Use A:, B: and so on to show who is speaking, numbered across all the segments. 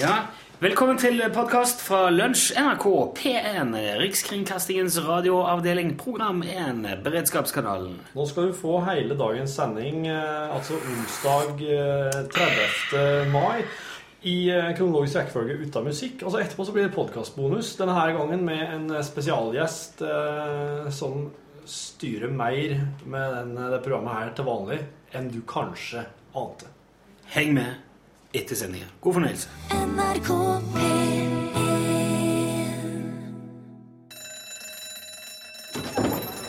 A: Ja, Velkommen til podkast fra Lunsj, NRK P1, Rikskringkastingens radioavdeling, program 1, Beredskapskanalen.
B: Nå skal du få hele dagens sending, eh, altså onsdag eh, 30. mai, i eh, kronologisk rekkefølge uten musikk. Og så etterpå så blir det podkastbonus, denne her gangen med en eh, spesialgjest eh, som styrer mer med den, eh, det programmet her til vanlig enn du kanskje ante.
A: Heng med etter sendinga. God fornøyelse.
C: NRK P1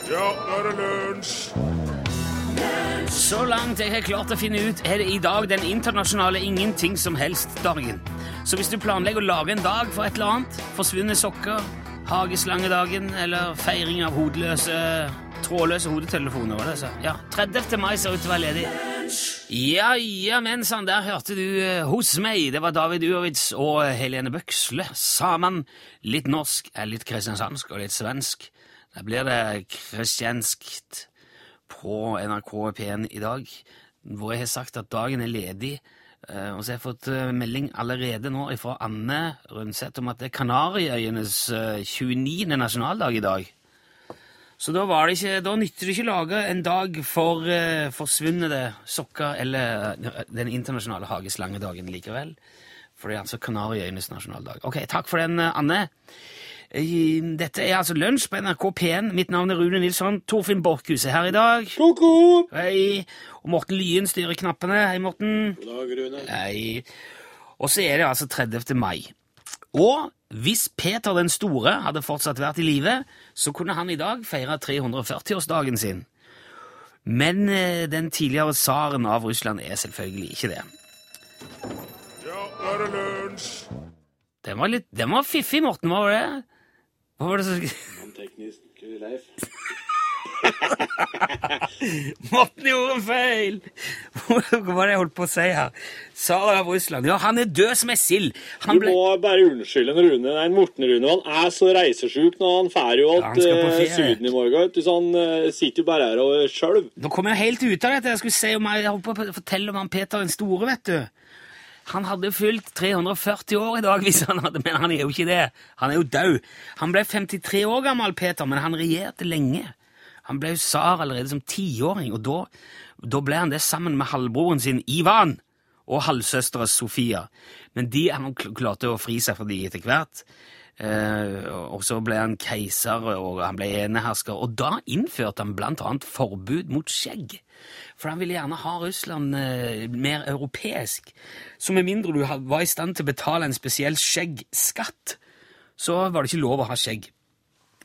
D: Ja, nå er det lunsj!
A: Så langt jeg har klart å finne ut, er det i dag den internasjonale ingenting som helst-dagen. Så hvis du planlegger å lage en dag for et eller annet, forsvunne sokker, hageslangedagen eller feiring av hodeløse, trådløse hodetelefoner, var det så? Ja, 30. mai ser ut til å være ledig. Ja, ja, mensan, der hørte du eh, hos meg. Det var David Uowitz og Helene Bøksle sammen. Litt norsk, eh, litt kristiansandsk og litt svensk. Da blir det kristianskt på NRK P1 i dag, hvor jeg har sagt at dagen er ledig. Eh, Og så har jeg fått eh, melding allerede nå fra Anne Rundseth om at det er Kanariøyenes eh, 29. nasjonaldag i dag. Så da, var det ikke, da nytter det ikke å lage en dag for eh, forsvunne sokker eller eh, den internasjonale hageslangedagen likevel. For det er altså Kanariøyenes nasjonaldag. Ok, takk for den, eh, Anne. Eh, Dette er altså Lunsj på NRK P1. Mitt navn er Rune Nilsson. Torfinn Borchhus er her i dag. Hei. Og Morten Lyen styrer knappene. Hei, Morten. God dag, Rune. Hei. Og så er det altså 30. mai. Og hvis Peter den store hadde fortsatt vært i live, så kunne han i dag feire 340-årsdagen sin. Men eh, den tidligere tsaren av Russland er selvfølgelig ikke det.
D: Ja, nå er det lunsj!
A: Den var, litt, den var fiffig, Morten, var det? Hva var det som
E: teknisk eh, Leif.
A: Morten gjorde en feil! Hva var det jeg holdt på å si her? Tsaren av Russland. Ja, han er død som ei sild. Han
E: Du
A: ble-
E: må bare unnskylde en Rune, nei, en Morten Rune. Han er så reisesjuk nå. Han drar jo
A: Ja, han
E: til
A: skal på ferie.
E: Syden i morgen. vet Du, så han eh, sitter jo bare her og skjelver.
A: Nå kom jeg helt ut av dette. Jeg skulle se om jeg, jeg holdt på å fortelle om han Peter den store, vet du. Han hadde fylt 340 år i dag, hvis han hadde, men han er jo ikke det. Han er jo død. Han ble 53 år gammel, Peter, men han regjerte lenge. Han ble jo tsar allerede som tiåring, og da, da ble han det sammen med halvbroren sin Ivan og halvsøstera Sofia. Men de han kl- klarte å fri seg fra de etter hvert. Eh, og så ble han keiser, og han ble enehersker. Og da innførte han blant annet forbud mot skjegg. For han ville gjerne ha Russland eh, mer europeisk. Så med mindre du ha- var i stand til å betale en spesiell skjeggskatt, så var det ikke lov å ha skjegg.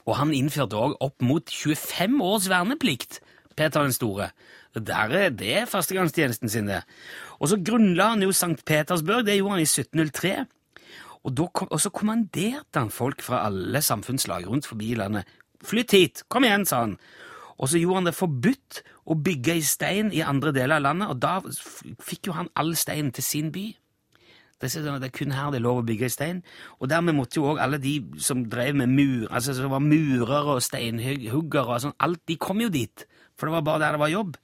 A: Og han innførte òg opp mot 25 års verneplikt, Peter den store. Det Der er det er førstegangstjenesten sin, det. Og så grunnla han jo Sankt Petersburg, det gjorde han i 1703. Og, da kom, og så kommanderte han folk fra alle samfunnslag rundt forbi i landet. Flytt hit! Kom igjen, sa han. Og så gjorde han det forbudt å bygge i stein i andre deler av landet, og da f- fikk jo han all steinen til sin by. Det er, sånn at det er kun her det er lov å bygge i stein. Og dermed måtte jo også alle de som drev med mur, altså som var murere og steinhuggere og sånn, alt, de kom jo dit. For det var bare der det var jobb.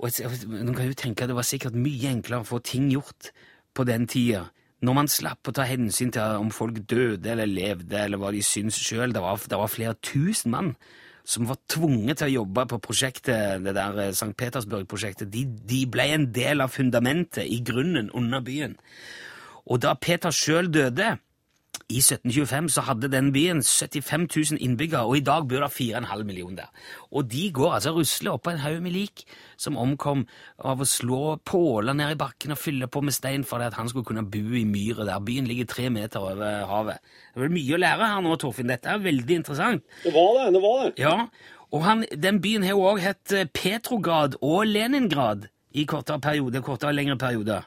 A: Og jeg- jeg- nå kan jeg jo tenke at det var sikkert mye enklere å få ting gjort på den tida. Når man slapp å ta hensyn til om folk døde eller levde, eller hva de syns sjøl. Det, var- det var flere tusen mann som var tvunget til å jobbe på prosjektet, det der eh, St. Petersburg-prosjektet. De, de ble en del av fundamentet i grunnen under byen. Og da Peter sjøl døde i 1725 så hadde den byen 75 000 innbyggere, og i dag bor det 4,5 millioner der. Og de går altså og rusler oppå en haug med lik som omkom av å slå påler ned i bakken og fylle på med stein for at han skulle kunne bo i myra der. Byen ligger tre meter over havet. Det er vel mye å lære her nå, Torfinn. Dette er veldig interessant.
E: Det var det, det var det.
A: Ja, og han, den byen har jo òg hett eh, Petrograd og Leningrad i kortere perioder, kortere og lengre perioder.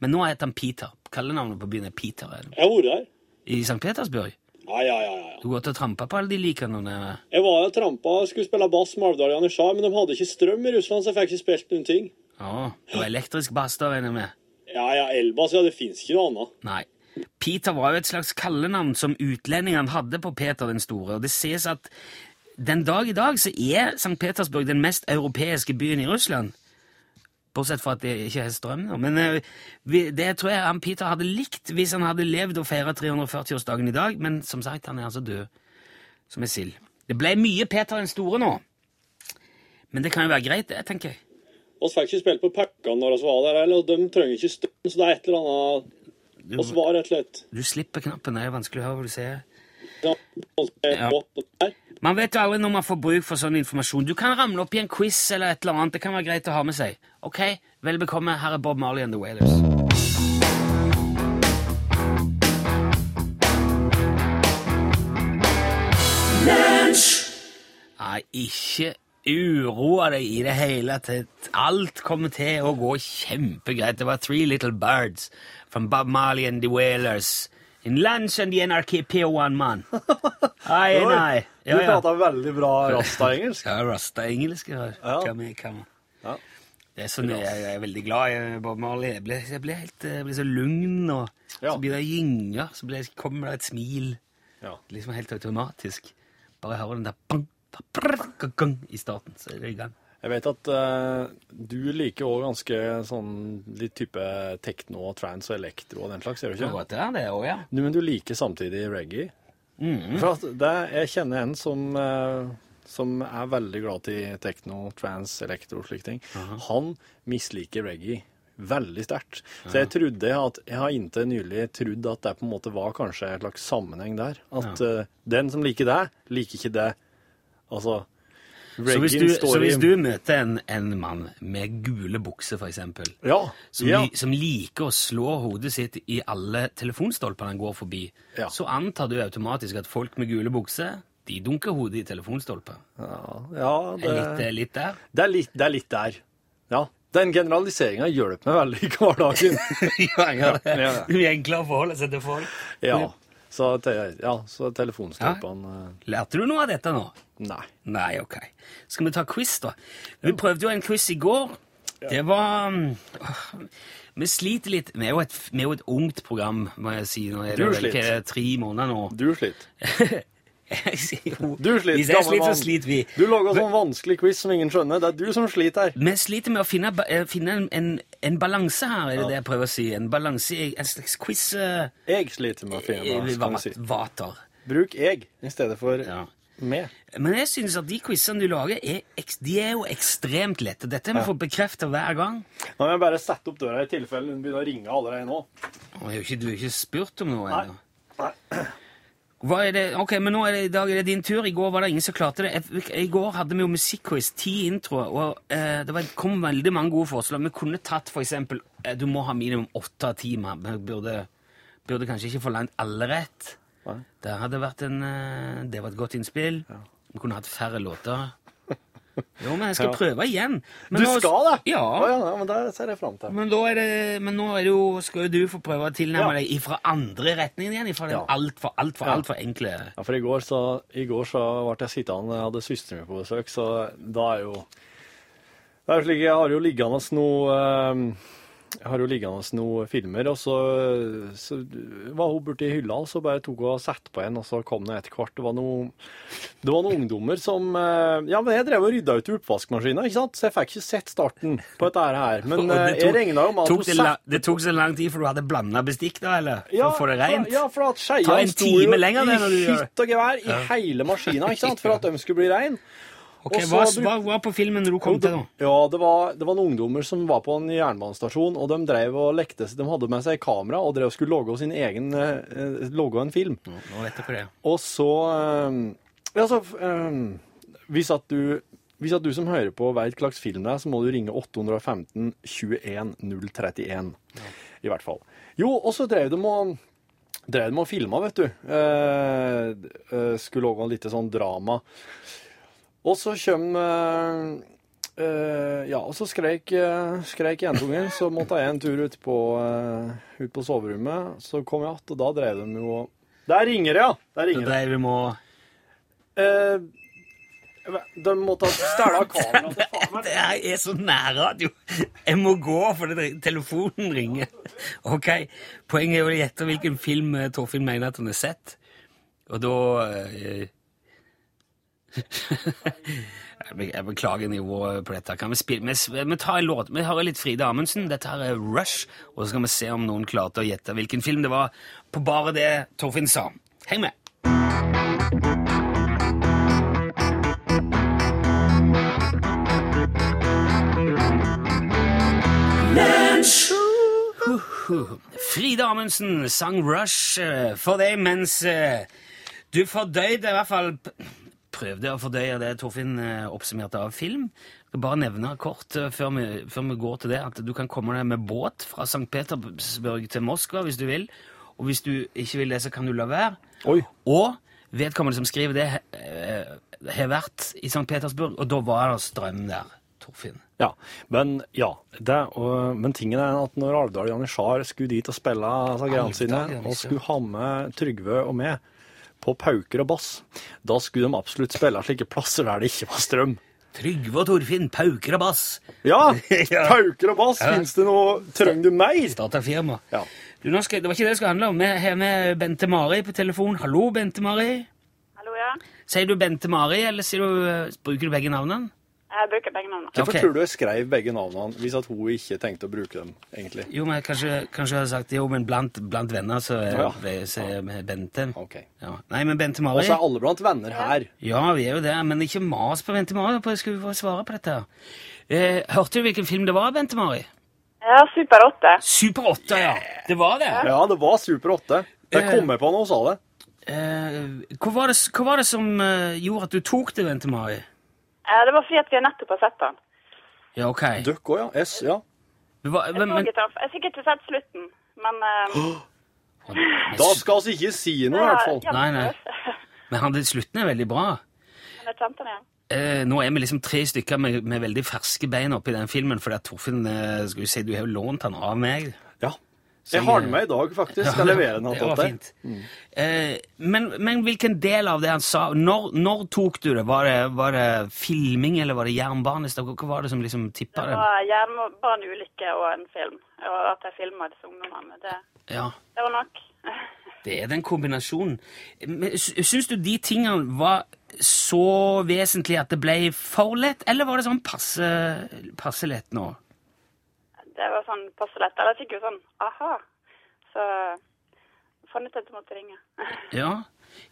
A: Men nå heter han Peter. Kallenavnet på byen er Peter. er det.
E: Jeg har vært der.
A: I St. Petersburg.
E: Ja, ja, ja. ja, ja.
A: Du har gått og trampa på alle de likene. der.
E: Jeg var jo trampa skulle spille bass med Alvdaljan i Shah, men de hadde ikke strøm i Russland, så jeg fikk ikke spilt noen ting.
A: Ja, det var elektrisk bass, da, regner jeg med.
E: Ja, ja, Elbas, ja, det fins ikke noe annet.
A: Nei. Peter var jo et slags kallenavn som utlendingene hadde på Peter den store, og det ses at den dag i dag så er St. Petersburg den mest europeiske byen i Russland. Bortsett fra at det ikke er strøm. nå. Men eh, vi, det tror jeg han Peter hadde likt hvis han hadde levd og feira 340-årsdagen i dag, men som sagt, han er altså død som en sild. Det ble mye Peter den store nå. Men det kan jo være greit, det, tenker jeg.
B: Vi fikk ikke spilt på Pekkan når vi var der heller, og de trenger ikke strøm, så det er et eller annet Vi var rett og slett
A: Du slipper knappen, det er vanskelig å høre hva du sier.
B: Ja.
A: Man vet jo aldri når man får bruk for sånn informasjon. Du kan ramle opp i en quiz eller et eller annet. Det kan være greit å ha med seg. Ok, vel bekomme. Her er Bob Marley and The Wailers. Nei, ikke uroa deg i det hele tatt. Alt kommer til å gå kjempegreit. Det var Three Little Birds from Bob Marley and The Wailers. In lunch and the NRKPO one man. Nei, nei.
F: Du prater veldig bra rasta-engelsk.
A: Ja, rasta-engelsk. Ja.
F: Ja.
A: Jamaica.
F: Ja.
A: Det er sånn, jeg, jeg er veldig glad i Bob Marley. Jeg blir, jeg blir, helt, jeg blir så lugn, og
F: Ja.
A: så blir det gynger, så blir det, kommer det et smil.
F: Ja.
A: Liksom helt automatisk. Bare jeg hører den der bang, da, brr, ga, gang, i starten, så er det i gang.
F: Jeg vet at eh, du liker òg ganske sånn litt type tekno, trans og elektro og den slags, gjør du
A: Det
F: ikke?
A: det er det òg, ja.
F: Du, men du liker samtidig reggae.
A: Mm-hmm.
F: For at det, jeg kjenner en som, eh, som er veldig glad til tekno, trans, elektro og slike ting. Han misliker reggae veldig sterkt. Så jeg trodde at, jeg har inntil nylig trodd at det på en måte var kanskje en slags sammenheng der. At eh, den som liker det, liker ikke det. Altså,
A: Så hvis, du,
F: reggaen
A: så
F: står i
A: hvis du møter en, en mann med gule bukser, for eksempel,
F: Ja.
A: som,
F: ja.
A: li, som liker å slå hodet sitt i alle telefonstolper han går forbi,
F: Ja.
A: så antar du automatisk at folk med gule bukser de dunker hodet i telefonstolper.
F: Ja, ja
A: Det... Litt,
F: det,
A: eh, litt der.
F: det, er litt, det er litt der. Ja. Den generaliseringa hjelper meg veldig i hverdagen.
A: ja, ja, det.
F: Ja, ja.
A: Du er enklere å forholde seg til folk.
F: Ja. Så, te- ja, så telefonstolpene eh,
A: Lærte du noe av dette nå?
F: Nei.
A: Nei, ok. Skal vi ta quiz, da? Vi prøvde jo en quiz i går. Det var mm, åh, Vi sliter litt. Vi er jo et, vi er jo et ungt program, må jeg si. Nå er det
F: Du
A: jo vel
F: sliter.
A: ikke tre måneder nå.
F: Du sliter.
A: Jeg sier jo-
F: Du sliter,
A: Hvis jeg
F: gammel
A: sliter,
F: mann.
A: så sliter vi.
F: Du lager sånn vanskelig quiz som ingen skjønner. Det er du som sliter her.
A: Vi sliter med å finne, ba- eh, finne en, en, en balanse her, er det det jeg prøver å si? En balanse, i- en slags quiz... eh,
F: Jeg sliter med å finne hva skal man si.
A: Vater.
F: Bruk 'jeg' i stedet for
A: Ja.
F: 'med'.
A: Men jeg synes at de quizene du lager, er, eks- de er jo ekstremt lette. Dette må vi få bekreftet hver gang.
F: Nå må jeg bare sette opp døra i tilfelle hun begynner å ringe allerede nå.
A: Og jeg har jo ikke, du har ikke spurt om noe
F: Nei.
A: ennå.
F: Nei.
A: Hva er det? Ok, men nå er det, I dag er det din tur. I går var det ingen som klarte det. Jeg- I går hadde vi jo musikkquiz, ti introer, og eh, det var, kom veldig mange gode forslag. Vi kunne tatt for eksempel eh, Du må ha minimum åtte timer. Vi burde, burde kanskje ikke forlangt alle rett.
F: Nei.
A: Det hadde vært en eh, Det var et godt innspill. Vi kunne hatt færre låter. Jo, men jeg skal
F: Ja.
A: prøve igjen. Men
F: Du
A: nå-
F: skal det?
A: Ja.
F: Å ja, ja, men det ser jeg fram til.
A: Men, da er det, men nå er det jo, skal jo du få prøve å tilnærme
F: Ja.
A: deg fra andre retningen igjen. Fra den
F: Ja.
A: altfor, altfor,
F: Ja.
A: altfor enkle
F: Ja, for i går så, i går så ble jeg sittende, jeg hadde søsteren min på besøk, så da er jo det er jo slik, Jeg har jo liggende noe eh, jeg har jo liggende noe filmer, og så, så var hun borti hylla, og så bare tok hun og satte på en, og så kom det etter hvert. Det var noe det var noen ungdommer som eh, Ja, men jeg drev og rydda ut i oppvaskmaskina, ikke sant? Så jeg fikk ikke sett starten på dette her. Men
A: Og det
F: eh, jeg
A: tok-
F: regna jo med at
A: tok
F: hun
A: det, la,
F: satte
A: det tok så lang tid, for du hadde blanda bestikk, da? eller? For å få det
F: for-
A: rent?
F: Ja, for at
A: Ta
F: skeia
A: en
F: sto
A: time
F: jo
A: lenger, det, når du gjør
F: i
A: det.
F: hytt og gevær i hele maskina ikke sant? for at de skulle bli rein.
A: Ok,
F: og så
A: hva,
F: bruk-
A: hva var på filmen du kom til nå?
F: Ja, det var, det var noen ungdommer som var på en jernbanestasjon, og de drev og lekte seg. De hadde med seg kamera og drev og skulle logge sin egen eh, logge en film.
A: Nå vet dere det.
F: Og så eh, Ja, så eh, hvis, at du, hvis at du som hører på veit hva slags film det er, så må du ringe 815 21 031. I hvert fall. Jo, og så drev de og drev de og filma, vet du. Eh, eh, skulle lage litt sånn drama. Og så kom eh, eh, Ja, og så skreik, eh, skreik jentungen. Så måtte jeg en tur ut på, eh, ut på soverommet. Så kom jeg att, og da drev de jo og Der ringer det, ja! Der
A: Da
F: ringer det.
A: dreiv vi med å-
F: Eh, de måtte ha stjålet kameraet til faen meg.
A: Det her er så nærradio. Jeg må gå, for det, telefonen ringer. Ok, Poenget er jo å gjette hvilken film eh, Torfinn mener at han har sett. Og da eh, Jeg be- Jeg beklager nivået på dette. Kan vi, spille? Vi, s- vi tar en låt. Vi hører litt Frida Amundsen. Dette her er Rush. Og så skal vi se om noen klarte å gjette hvilken film det var på bare det Torfinn sa. Heng med! Frida Amundsen sang Rush eh, for deg mens eh, du fordøyde i hvert fall p- Prøvde å fordøye det Torfinn eh, oppsummerte av film. Jeg skal bare nevne kort eh, før vi, før vi går til det, at du kan komme deg med båt fra St. Petersburg til Moskva hvis du vil. Og hvis du ikke vil det, så kan du la være.
F: Oi.
A: Og vedkommende som skriver det, eh, har vært i St. Petersburg, og da var det strøm der, Torfinn.
F: Ja, men, ja, det, og, men tingen er at når Alvdal Janitsjar skulle dit og spille altså, greiene sine,
A: Alvdal Janitsjar.
F: og skulle ha med Trygve og meg på pauker og bass, da skulle de absolutt spille slike plasser der det ikke var strøm.
A: Trygve og Torfinn, pauker og bass.
F: Ja!
A: Ja.
F: Pauker og bass,
A: Ja.
F: finnes det noe Trenger du mer?
A: Starta firma.
F: Ja.
A: Du, nå skal, det var ikke det det skulle handle om. Vi har med Bente Mari på telefon. Hallo, Bente Mari.
C: Hallo, ja.
A: Sier du Bente Mari, eller sier du, eh, bruker du begge navnene?
C: Jeg bruker begge navnene.
F: Hvorfor
A: Ok.
F: tror du jeg skrev begge navnene hvis at hun ikke tenkte å bruke dem, egentlig?
A: Jo, men kanskje, kanskje jeg hadde sagt jo, men blant, blant venner så eh, er
F: Ja.
A: det så er det Bente.
F: Ok.
A: Ja. Nei, men Bente
F: Og
A: Mari
F: så er alle blant venner her.
A: Ja, vi er jo der, men ikke mas på Bente Mari. for Jeg skulle få svare på dette. her. Eh, hørte du hvilken film det var, Bente Mari?
C: Ja, Super 8.
A: Super 8, ja. Det var det.
F: Ja, det var Super 8. Det
A: Eh.
F: kom jeg på når hun sa det.
A: Eh, hva, var det s- hva var det som eh, gjorde at du tok det, Bente Mari?
C: Eh, Det var fordi at vi nettopp har sett den.
A: Ja, ok.
F: Døkk òg, ja. S, ja.
A: Hva-
C: Jeg
A: men- men-
C: så ikke den- jeg fikk ikke sett slutten, men eh,
F: Da skal vi ikke si noe, i hvert fall.
C: ja,
A: Nei, nei. Men han, slutten er veldig bra.
C: men jeg kjente den igjen.
A: Eh, nå er vi liksom tre stykker med, med veldig ferske bein oppi den filmen, fordi at Torfinn eh, skal jo si, du har jo lånt han av meg.
F: Ja. Jeg har den med i dag, faktisk. Skal levere den
A: Det var
F: attåt.
A: fint. Eh, men, men hvilken del av det han sa Når, når tok du det? Var, det? var det filming, eller var det jernbanestasjon? Hva var det som liksom tippa
C: Det
A: det?
C: var jernbaneulykke eh, og en film, og at jeg filma disse ungdommene. Det,
A: Ja,
C: det var nok.
A: det er den kombinasjonen. Men sy- Syns du de tingene var så vesentlige at det ble for lett, eller var det sånn passe, passe lett nå?
C: Det var sånn passe lett. Eller jeg fikk jo sånn aha. Så jeg fant ut at jeg måtte ringe. Nei,
A: Ja.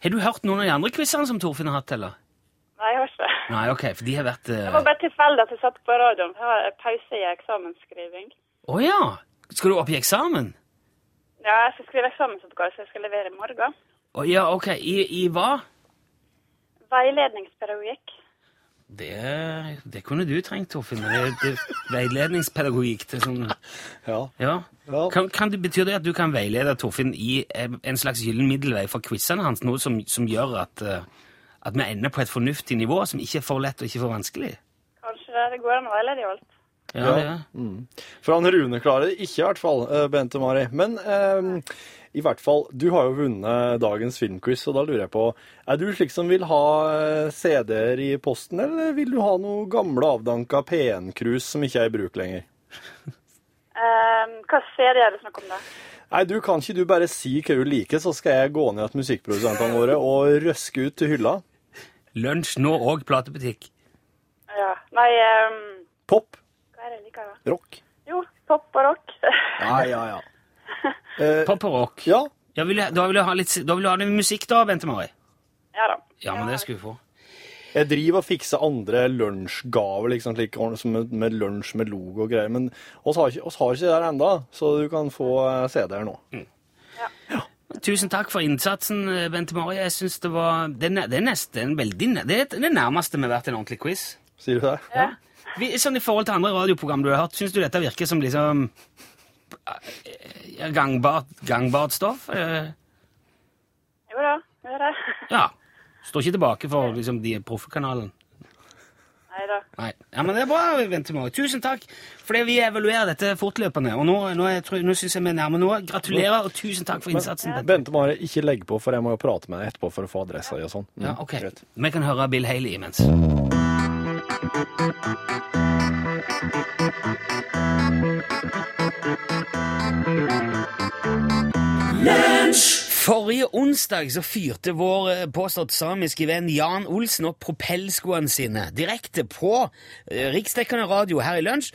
A: Har du hørt noen av de andre quizene som Torfinn har hatt, eller?
C: jeg har ikke det.
A: Nei, ok, for de har vært eh,
C: Det var bare tilfeldig at jeg satt på radioen. for Jeg har pause i eksamensskriving.
A: Å ja! Skal du opp i eksamen?
C: Ja, jeg skal skrive eksamensoppgave som jeg skal levere i morgen.
A: Å ja, ok. I, i hva?
C: Veiledningspedagogikk.
A: Det, det kunne du trengt, Torfinn. Det, det, veiledningspedagogikk til sånn
F: Ja.
A: Ja.
F: Ja.
A: Kan, kan det, betyr det at du kan veilede Torfinn i eh, en slags gyllen middelvei for quizene hans, noe som, som gjør at, eh, at vi ender på et fornuftig nivå som ikke er for lett og ikke for vanskelig?
C: Kanskje det- det går an å veilede i alt.
A: Ja,
F: Ja.
A: det er.
F: For han Rune klarer det ikke, i hvert fall, eh, Bente Mari. Men eh, i hvert fall, du har jo vunnet dagens filmquiz, og da lurer jeg på Er du slik som vil ha eh, CD-er i posten, eller vil du ha noe gamle, avdanka P1-krus som ikke er i bruk lenger?
C: Ehm, hva serie er det snakk om, da?
F: Nei, du kan ikke du bare si hva du liker, så skal jeg gå ned til musikkprodusentene våre og røske ut til hylla.
A: Lunsj nå og platebutikk.
C: Ja. Nei, ehm,
F: Pop.
C: hva er det jeg liker, da?
F: Rock.
C: Jo, pop og rock.
F: Ja, ja, ja.
A: Pop og rock.
F: Ja,
A: Ja, vil jeg, da, vil jeg ha litt, da vil jeg ha litt musikk, da, Bente Mari.
C: ja da.
A: Ja, men det skal vi få.
F: Jeg driver og fikser andre lunsjgaver, liksom, slik, ordne- som med, med lunsj med logo og greier, men oss har ikke, oss har ikke det der enda, så du kan få eh, CD-er nå.
A: Tusen takk for innsatsen, eh, Bente Mari. Jeg synes Det var det er, ne- det er nesten veldig nær- Det er det nærmeste vi har vært en ordentlig quiz.
F: Sier du det?
A: Ja. Vi, sånn I forhold til andre radioprogram du har hørt, syns du dette virker som liksom eh, gangbart, gangbart stoff? Eh,
C: Jo da, gjør det.
A: Ja. Står ikke tilbake for liksom, de proffkanalen.
C: Nei da.
A: Nei. Ja, men Det er bra, Bente Mari. Tusen takk. Fordi vi evaluerer dette fortløpende. Og nå, nå, er jeg tror- nå syns jeg vi er nærme nå. Gratulerer, og tusen takk for innsatsen. Bente.
F: Bente Mare, ikke legg på, for jeg må jo prate med deg etterpå for å få adressa di og sånn. Mm,
A: Ja, ok.
F: greit.
A: Vi kan høre Bill Haley imens. Forrige onsdag så fyrte vår eh, påstått samiske venn Jan Olsen opp propellskoene sine direkte på eh, riksdekkende radio her i lunsj,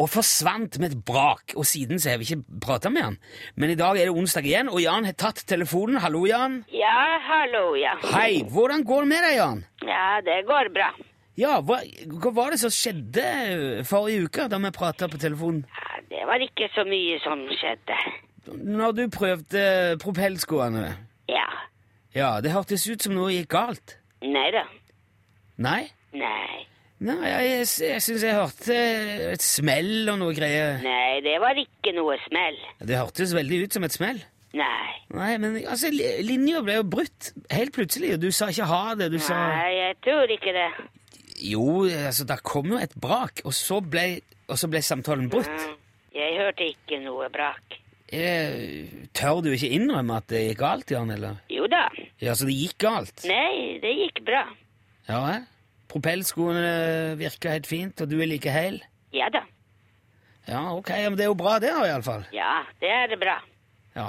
A: og forsvant med et brak. Og siden så har vi ikke prata med han. Men i dag er det onsdag igjen, og Jan har tatt telefonen. Hallo, Jan.
G: Ja, hallo, ja.
A: Hei, hvordan går det med deg, Jan?
G: Ja, det går bra.
A: Ja, hva, hva var det som skjedde eh, forrige uke da vi prata på telefonen?
G: Ja, det var ikke så mye som skjedde.
A: Når du prøvde propellskoene?
G: Ja.
A: Ja, det hørtes ut som noe gikk galt.
G: Nei da.
A: Nei?
G: Nei.
A: Nei, jeg, jeg, jeg syns jeg hørte eh, et smell og noe greier.
G: Nei, det var ikke noe smell.
A: Det hørtes veldig ut som et smell.
G: Nei.
A: Nei, men altså, li- linja ble jo brutt helt plutselig, og du sa ikke ha det, du sa
G: Nei, jeg tror ikke det.
A: Jo, altså, der kom jo et brak, og så ble, og så ble samtalen brutt.
G: Mm, Jeg hørte ikke noe brak.
A: Eh, Tør du ikke innrømme at det gikk galt, Jan, eller?
G: Jo da.
A: Ja, så det gikk galt?
G: Nei, det gikk bra.
A: Ja, eh? Propellskoene virker helt fint, og du er like heil?
G: Ja da.
A: Ja, ok, ja, men det er jo bra det, da, iallfall.
G: Ja, det er bra.
A: Ja.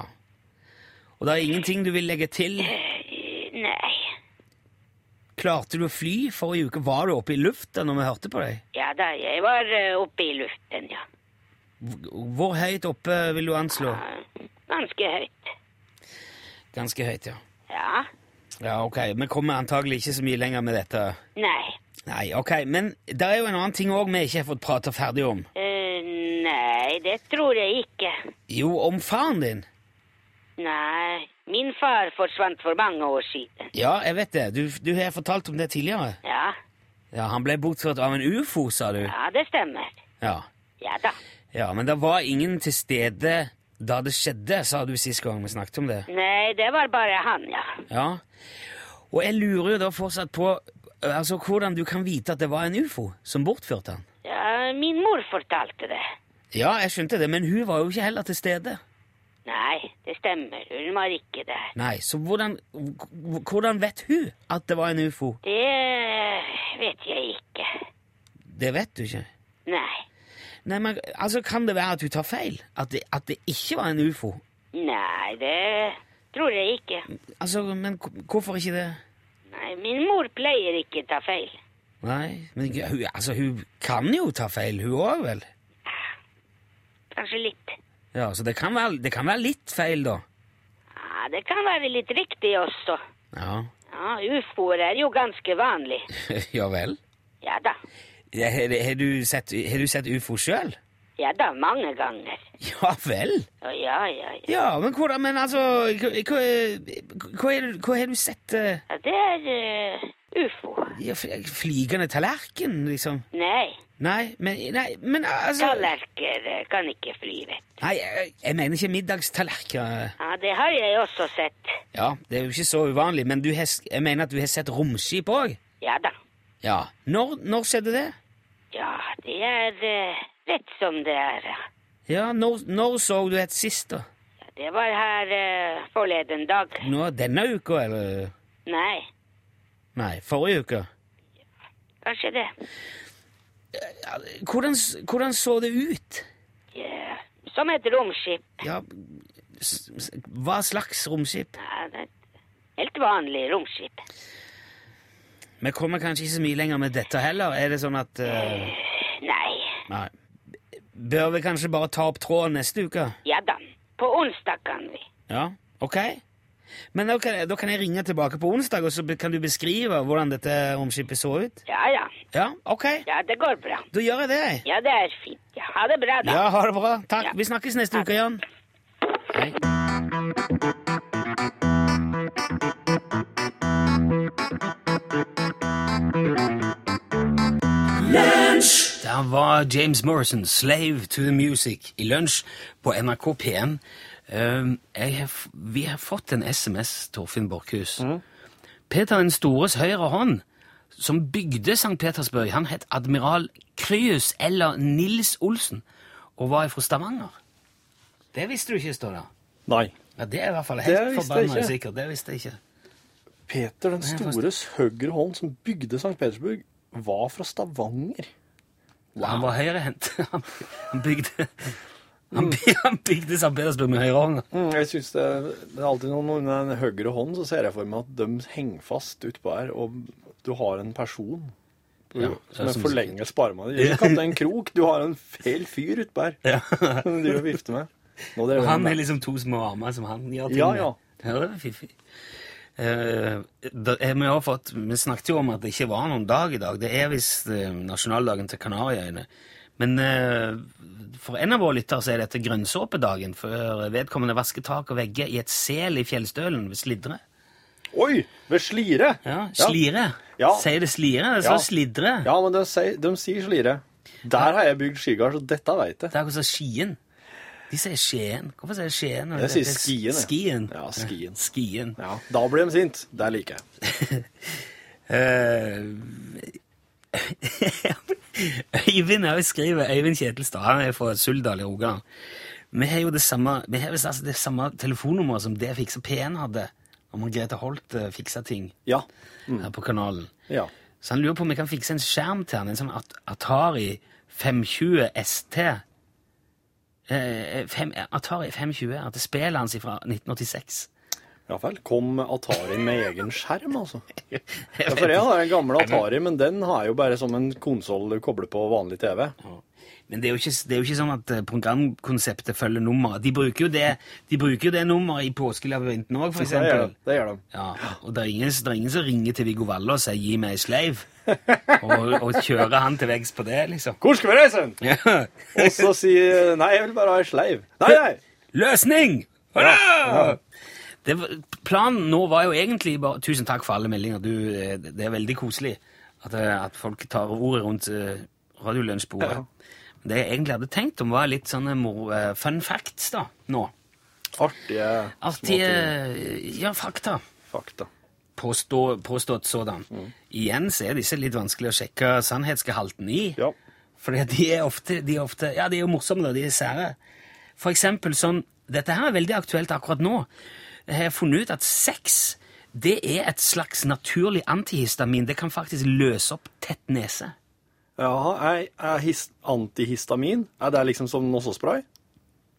A: Og det er ingenting du vil legge til?
G: Eh, Nei.
A: Klarte du å fly forrige uke? Var du oppe i lufta når vi hørte på deg?
G: Ja da, jeg var eh, oppe i luften, ja.
A: Hvor- Hvor høyt oppe vil du anslå?
G: Eh, Ganske høyt.
A: Ganske høyt, ja.
G: Ja.
A: Ja, ok. Vi kommer antagelig ikke så mye lenger med dette.
G: Nei.
A: Nei, ok. Men det er jo en annen ting òg vi ikke har fått prata ferdig om.
G: Eh, nei, det tror jeg ikke.
A: Jo, om faren din.
G: Nei, min far forsvant for mange år siden.
A: Ja, jeg vet det. Du, du har fortalt om det tidligere.
G: Ja,
A: Ja, Han ble bortført av en ufo, sa du.
G: ja det stemmer.
A: Ja.
G: Ja da.
A: ja, Men det var ingen til stede da det skjedde, sa du sist gang vi snakket om det.
G: Nei, det var bare han, ja.
A: Ja. Og jeg lurer jo da fortsatt på eh, altså, hvordan du kan vite at det var en ufo som bortførte han.
G: ja. Min mor fortalte det.
A: Ja, jeg skjønte det, men hun var jo ikke heller til stede.
G: Nei, det stemmer. Hun var ikke der.
A: Nei, så hvordan, h- hvordan vet hun at det var en ufo?
G: Det vet jeg ikke.
A: Det vet du ikke.
G: Nei.
A: Nei, men altså, Kan det være at hun tar feil? At det, at det ikke var en ufo?
G: Nei, det tror jeg ikke.
A: Altså, Men h- hvorfor ikke det?
G: Nei, min mor pleier ikke ta feil.
A: Nei, men g- hun, altså, hun kan jo ta feil, hun òg, vel?
G: Kanskje litt.
A: Ja, Så det kan, være, det kan være litt feil, da.
G: Ja, det kan være litt riktig også.
A: Ja,
G: Ja, ufoer er jo ganske vanlig.
A: ja vel?
G: Ja da.
A: Ja, Har har du sett, har du sett ufo sjøl?
G: Ja da, mange ganger.
A: Ja vel?
G: Å, Ja, ja, ja.
A: Ja, men hvordan Men altså Hva, hva, hva, er det- hva har du sett eh,
G: Ja, Det er eh, ufo.
A: ja, f- Flygende tallerken, liksom?
G: Nei,
A: Nei, men, nei, men altså
G: tallerkener eh, kan ikke fly, vet du.
A: Nei, jeg, jeg mener ikke middagstallerkener.
G: Ja, det har jeg også sett.
A: Ja, det er jo ikke så uvanlig, men du har, s- jeg mener at du har sett romskip òg?
G: Ja da.
A: Ja. Når, når skjedde det?
G: Ja, det er eh, rett som det er. ja.
A: Ja, når, når så du et sist, da?
G: Ja, Det var her eh, forleden dag.
A: Nå, denne uka, eller?
G: Nei,
A: Nei, forrige uke.
G: kanskje det.
A: Ja, Hvordan, s- hvordan så det ut?
G: Ja, Som et romskip.
A: Ja, s- s- hva slags romskip?
G: Ja, det er et helt vanlig romskip.
A: Vi kommer kanskje ikke så mye lenger med dette heller. Er det sånn at eh,
G: Nei,
A: Nei. Bør vi kanskje bare ta opp tråden neste uke?
G: ja da. På onsdag kan vi.
A: Ja, ok. Men da kan, da kan jeg ringe tilbake på onsdag, og så be- kan du beskrive hvordan dette romskipet så ut?
G: Ja, ja.
A: Ja, ok.
G: Ja, det går bra.
A: Da gjør jeg det. jeg.
G: Ja, det er fint. Ja, ha det bra, da.
A: Ja, ha det bra. Takk.
G: Ja.
A: Vi snakkes neste uke, Jan. Hei. Der var James Morrison, 'Slave to the Music', i lunsj på NRK P1. Ehm, jeg har, f- vi har fått en SMS, Torfinn Borchhus. Peter den stores høyre hånd, som bygde St. Petersburg, han het admiral Kryus eller Nils Olsen, og var fra Stavanger. Det visste du ikke, står det.
B: Nei.
A: Ja, det er i hvert fall
B: Det
A: helt
B: visste jeg
A: forbanna
B: ikke.
A: sikkert. Det visste jeg ikke.
B: Peter den stores høyre hånd som bygde St. Petersburg, var fra Stavanger.
A: Han var høyrehendt. Han, han bygde
B: Mm.
A: Han, bi- han bygde St. Petersburg med høyrehånda.
F: Mm, jeg synes det, det er alltid noen under den høyre hånd så ser jeg for meg at de henger fast utpå her, og du har en person
A: Ja, som-
F: som er forlenget sparma. Det er ikke at det er en krok, du har en feil fyr utpå her
A: Ja.
F: som du driver og vifter med. Nå driver
A: Han
F: med-
A: er liksom to små armer som han gjør ting
F: Ja,
A: med.
F: ja.
A: Ja, det var fiffig. Eh, da, eh, vi, har fått, vi snakket jo om at det ikke var noen dag i dag. Det er visst eh, nasjonaldagen til Kanariøyene. Men eh, for en av våre lyttere så er dette grønnsåpedagen, for vedkommende vasker tak og vegger i et sel i fjellstølen ved Slidre.
F: Oi! Ved slire!
A: Ja, slire.
F: Ja.
A: Sier det slire? Det
F: Ja.
A: står Slidre.
F: Ja, men de sier, de sier slire. Der har jeg bygd skigard, så dette vet jeg.
A: Det er akkurat som Skien. De sier Skien. Hvorfor sier de Skien?
F: Jeg sier
A: Det er
F: Skien, jeg.
A: Skien.
F: Ja, Skien.
A: Skien.
F: Ja, da blir de sint. Det liker jeg.
A: Eh, Øyvind er jo skriver Øyvind Kjetilstad, han er fra Suldal i Rogaland. Vi har jo det samme, vi har visst altså det samme telefonnummeret som det Fiksa P1 hadde, om Margrethe Holt eh, fiksa ting
F: Ja.
A: her på kanalen.
F: ja.
A: Så han lurer på om vi kan fikse en skjerm til han, en sånn At- Atari 520 ST. Eh, fem, Atari 520, at det spillet hans fra 1986.
F: Ja vel. Kom Atari med egen skjerm, altså.
A: Jeg
F: Ja,
A: vet
F: for jeg
A: ikke.
F: har en gammel Atari, men den har jo bare som en konsoll du kobler på vanlig TV.
A: Men det er, jo ikke, det er jo ikke sånn at eh, programkonseptet følger nummeret. De bruker jo det, de bruker jo det nummeret i påskelabyrinten òg, for
F: Det gjør
A: eksempel.
F: de. Det gjør de.
A: Ja, og det er, ingen, det er ingen som ringer til Viggo Valle og sier 'gi meg ei sleiv', og, og kjører han til veggs på det, liksom.
F: Hvor skal vi reise? hen?
A: Ja.
F: Og så sier Nei, jeg vil bare ha ei sleiv. Nei, nei!
A: Løsning! Hurra! Det var, planen nå var jo egentlig bare Tusen takk for alle meldinger. Du, eh, det er veldig koselig at, eh, at folk tar ordet rundt eh, radiolunsjbordet. Det jeg egentlig hadde tenkt om, var litt sånne mor, eh, fun facts da, nå.
F: Artige
A: Artige
F: småting.
A: eh, ja, fakta.
F: fakta.
A: Påstå, påstått sådan. Igjen så er disse litt vanskelig å sjekke sannhetsgehalten i.
F: Ja.
A: Fordi de er ofte, de er ofte Ja, de er jo morsomme, da. De er sære. For eksempel sånn Dette her er veldig aktuelt akkurat nå. Jeg har funnet ut at sex det er et slags naturlig antihistamin. Det kan faktisk løse opp tett nese.
F: Jaha, er, er his, antihistamin Er det liksom som Nossospray?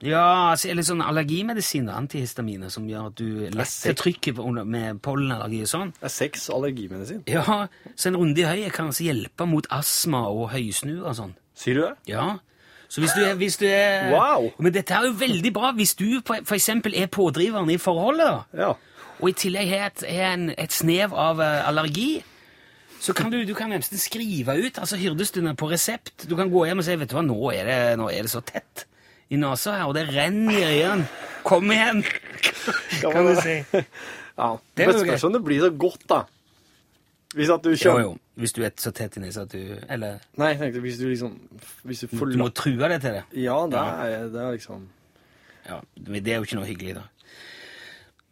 A: Ja, altså, eller sånn allergimedisin og antihistaminer som gjør at du letter trykket på- under- med pollenallergi og sånn.
F: Er sex allergimedisin?
A: Ja, Så en runde i høyet kan altså hjelpe mot astma og høysnue og sånn.
F: Sier du det?
A: Ja. Så hvis du er, hvis du er
F: Wow!
A: Men dette er jo veldig bra hvis du på- for eksempel er pådriveren i forholdet, da.
F: Ja.
A: og i tillegg har et, har en, et snev av eh, allergi, så kan du, du kan nesten skrive ut altså hyrdestunder på resept. Du kan gå hjem og si vet du hva, nå er det, nå er det så tett i nesa her, og det renner igjen. Kom igjen! Kan du si.
F: Ja,
A: Det
F: det
A: er jo
F: spørs om det blir så godt, da. Hvis at du
A: Jo,
F: kjøper
A: jo. Hvis du er så tett i nesa at du Eller
F: Nei, jeg tenkte hvis du liksom Hvis du
A: du må
F: forlater
A: true deg til det.
F: Ja, det er, det er liksom
A: Ja, men det er jo ikke noe hyggelig, da.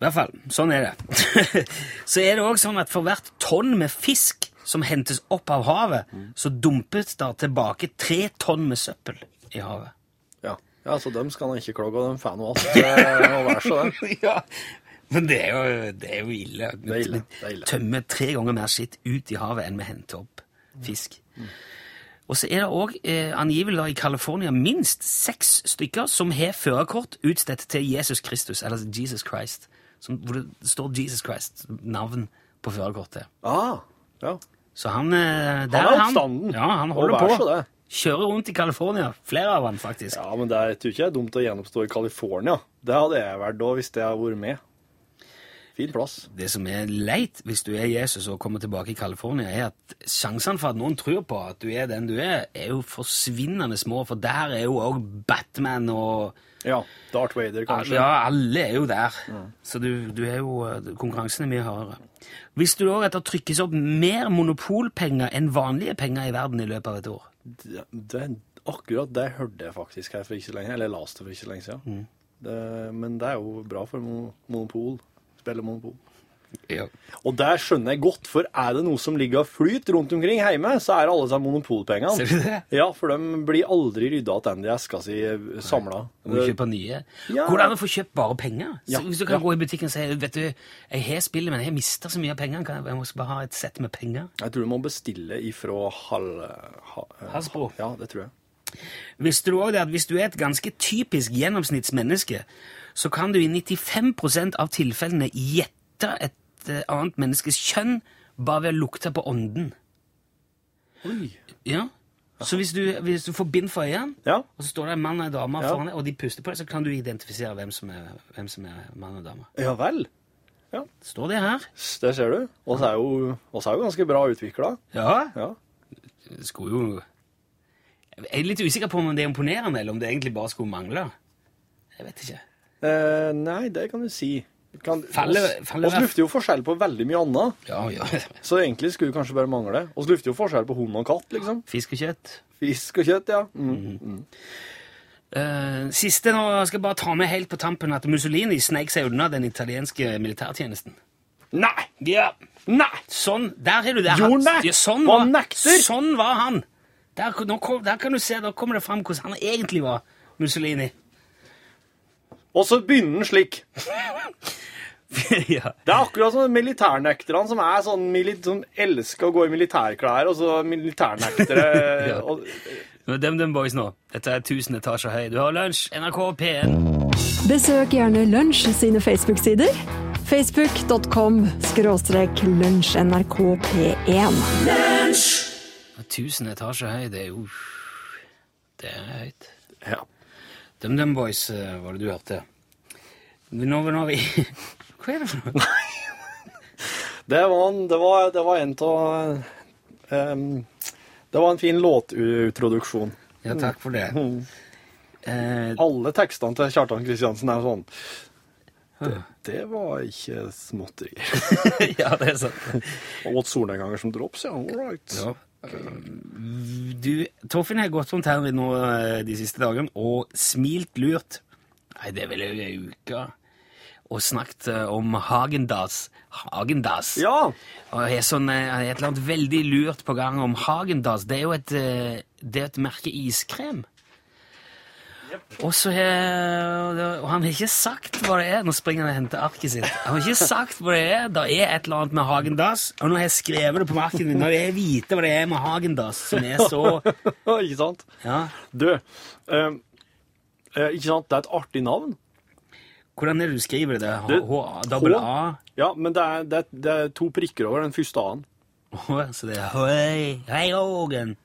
A: I hvert fall, sånn er det. så er det òg sånn at for hvert tonn med fisk som hentes opp av havet, så dumpes der tilbake tre tonn med søppel i havet.
F: Ja, ja så dem skal han ikke klage, og dem får noe alt. eh, Og vær så det.
A: ja, men det er jo, det er jo ille.
F: er ille, det er ille.
A: Tømme tre ganger mer skitt ut i havet enn vi henter opp fisk. Og så er det òg eh, angivelig da i California minst seks stykker som har førerkort utstedt til Jesus Kristus, eller Jesus Christ, som, hvor det står Jesus Christ, navn på førerkortet.
F: Ah, ja.
A: Så han eh, der
F: er
A: er
F: oppstanden.
A: Ja, han
F: Og
A: holder
F: vær
A: på.
F: så det.
A: Kjører rundt i California. Flere av han faktisk.
F: ja, men det er, jeg tror ikke det er dumt å gjenoppstå i California. Det hadde jeg vært da, hvis jeg hadde vært med. Fin plass.
A: det som er leit hvis du er Jesus og kommer tilbake i California, er at sjansene for at noen tror på at du er den du er, er jo forsvinnende små, for der er jo òg Batman og
F: Ja, Darth Vader, kanskje.
A: Ja, alle er jo der. Så du, du er jo Konkurransen er mye hardere. Hvis du òg at det trykkes opp mer monopolpenger enn vanlige penger i verden i løpet av et år.
F: Det, det, akkurat det hørte jeg faktisk her for ikke så lenge, eller jeg leste for ikke så lenge siden.
A: Mm.
F: Det, men det er jo bra for mo- monopol, spille monopol. Og der skjønner jeg godt, for er det noe som ligger og flyter rundt omkring hjemme, så er det alle sammen monopolpengene.
A: Ser du det?
F: Ja, for de blir aldri rydda tilbake i eska si samla.
A: Du må kjøpe nye.
F: Ja.
A: Går det an å få kjøpt bare penger?
F: Ja,
A: Så hvis du kan
F: ja.
A: gå i butikken og si vet du, jeg har spillet, men jeg mister så mye penger, kan jeg- jeg må bare ha et sett med penger?
F: Jeg tror du må bestille ifra Hal... Ha,
B: eh,
A: Hasbro.
F: Ja, det tror jeg.
A: Visste du også det at hvis du er et ganske typisk gjennomsnittsmenneske, så kan du i 95 av tilfellene gjette et eh, annet menneskes kjønn bare ved å lukte på ånden.
B: Oi.
A: Ja. Så hvis du, hvis du får bind for øynene,
B: Ja.
A: og så står det en mann og en dame
B: Ja.
A: foran deg, og de puster på deg, så kan du identifisere hvem som er, hvem som er mann og dame.
B: Ja vel.
A: Står det her?
B: S- Der ser du. Oss er jo, oss er jo ganske bra utvikla.
A: Ja.
B: Ja.
A: Det skulle jo Jeg er litt usikker på om det er imponerende, eller om det egentlig bare skulle mangle. Jeg vet ikke.
B: Eh, nei, det kan du si. Kan,
A: Faller-
B: oss,
A: faller-
B: oss lufter jo forskjell på veldig mye annet,
A: Ja, ja.
B: så egentlig skulle det kanskje bare mangle. Oss lufter jo forskjell på hund og katt, liksom.
A: Fisk og kjøtt.
B: Fisk og kjøtt, ja. Mm.
A: Eh, siste nå skal jeg bare ta med helt på tampen at Mussolini sneik seg unna den italienske militærtjenesten.
B: Nei!
A: Ja.
B: Nei!
A: Sånn, der er du der.
B: Gjorde han det?
A: Ja, sånn
B: Og
A: var,
B: han nekter?
A: Sånn var han. Der, nå kom, der kan du se, da kommer det fram hvordan han egentlig var, Mussolini.
B: Og så begynner den slik.
A: ja.
B: Det er akkurat som militærnekterne som er sånn mili som elsker å gå i militærklær, og så militærnektere
A: Ja.
B: og,
A: Nå er DumDum Boys nå. Dette er 1000 etasjer høy. Du har lunsj, NRK P1.
H: Besøk gjerne Lunsj sine Facebook-sider. Facebook.com skråstrek lunsjnrkp1.
A: 1000 etasjer høy, det er jo Det er høyt.
B: Ja.
A: DumDum Boys eh, var det du hørte. Nå var vi Hva er det for noe?
B: Det var en, det var, det var en av ehm, Det var en fin låtintroduksjon.
A: Ja, takk for det. Eh,
B: Alle tekstene til Kjartan Kristiansen er sånn det, det var ikke småtterier.
A: ja, det er sant.
B: Og åt solnedganger som drops, ja. All right.
A: Ja. Du, Torfinn har gått rundt her nå eh, de siste dagene og smilt lurt. Nei, det er vel ei uke. Og snakket eh, om Hagendas. Hagendas.
B: Ja!
A: Og jeg er sånn, eh, et eller annet veldig lurt på gang om Hagendas. Det er jo et, eh, det er et merke iskrem. Og så har Og han har ikke sagt hva det er. Nå springer han og henter arket sitt. Han har ikke sagt hva det er. Det er et eller annet med Hagendas. Og nå har jeg skrevet det på marken min. Når jeg vite hva det er med Hagendas, som er så
B: ikke sant?
A: Ja.
B: Du, ehm, eh, ikke sant, det er et artig navn.
A: Hvordan er det du skriver det? H-
B: Det-
A: H- Dobbel A?
B: Ja, men det er, det er, det er to prikker over den første A-en.
A: H- Så det er Hei, hei, Hågen.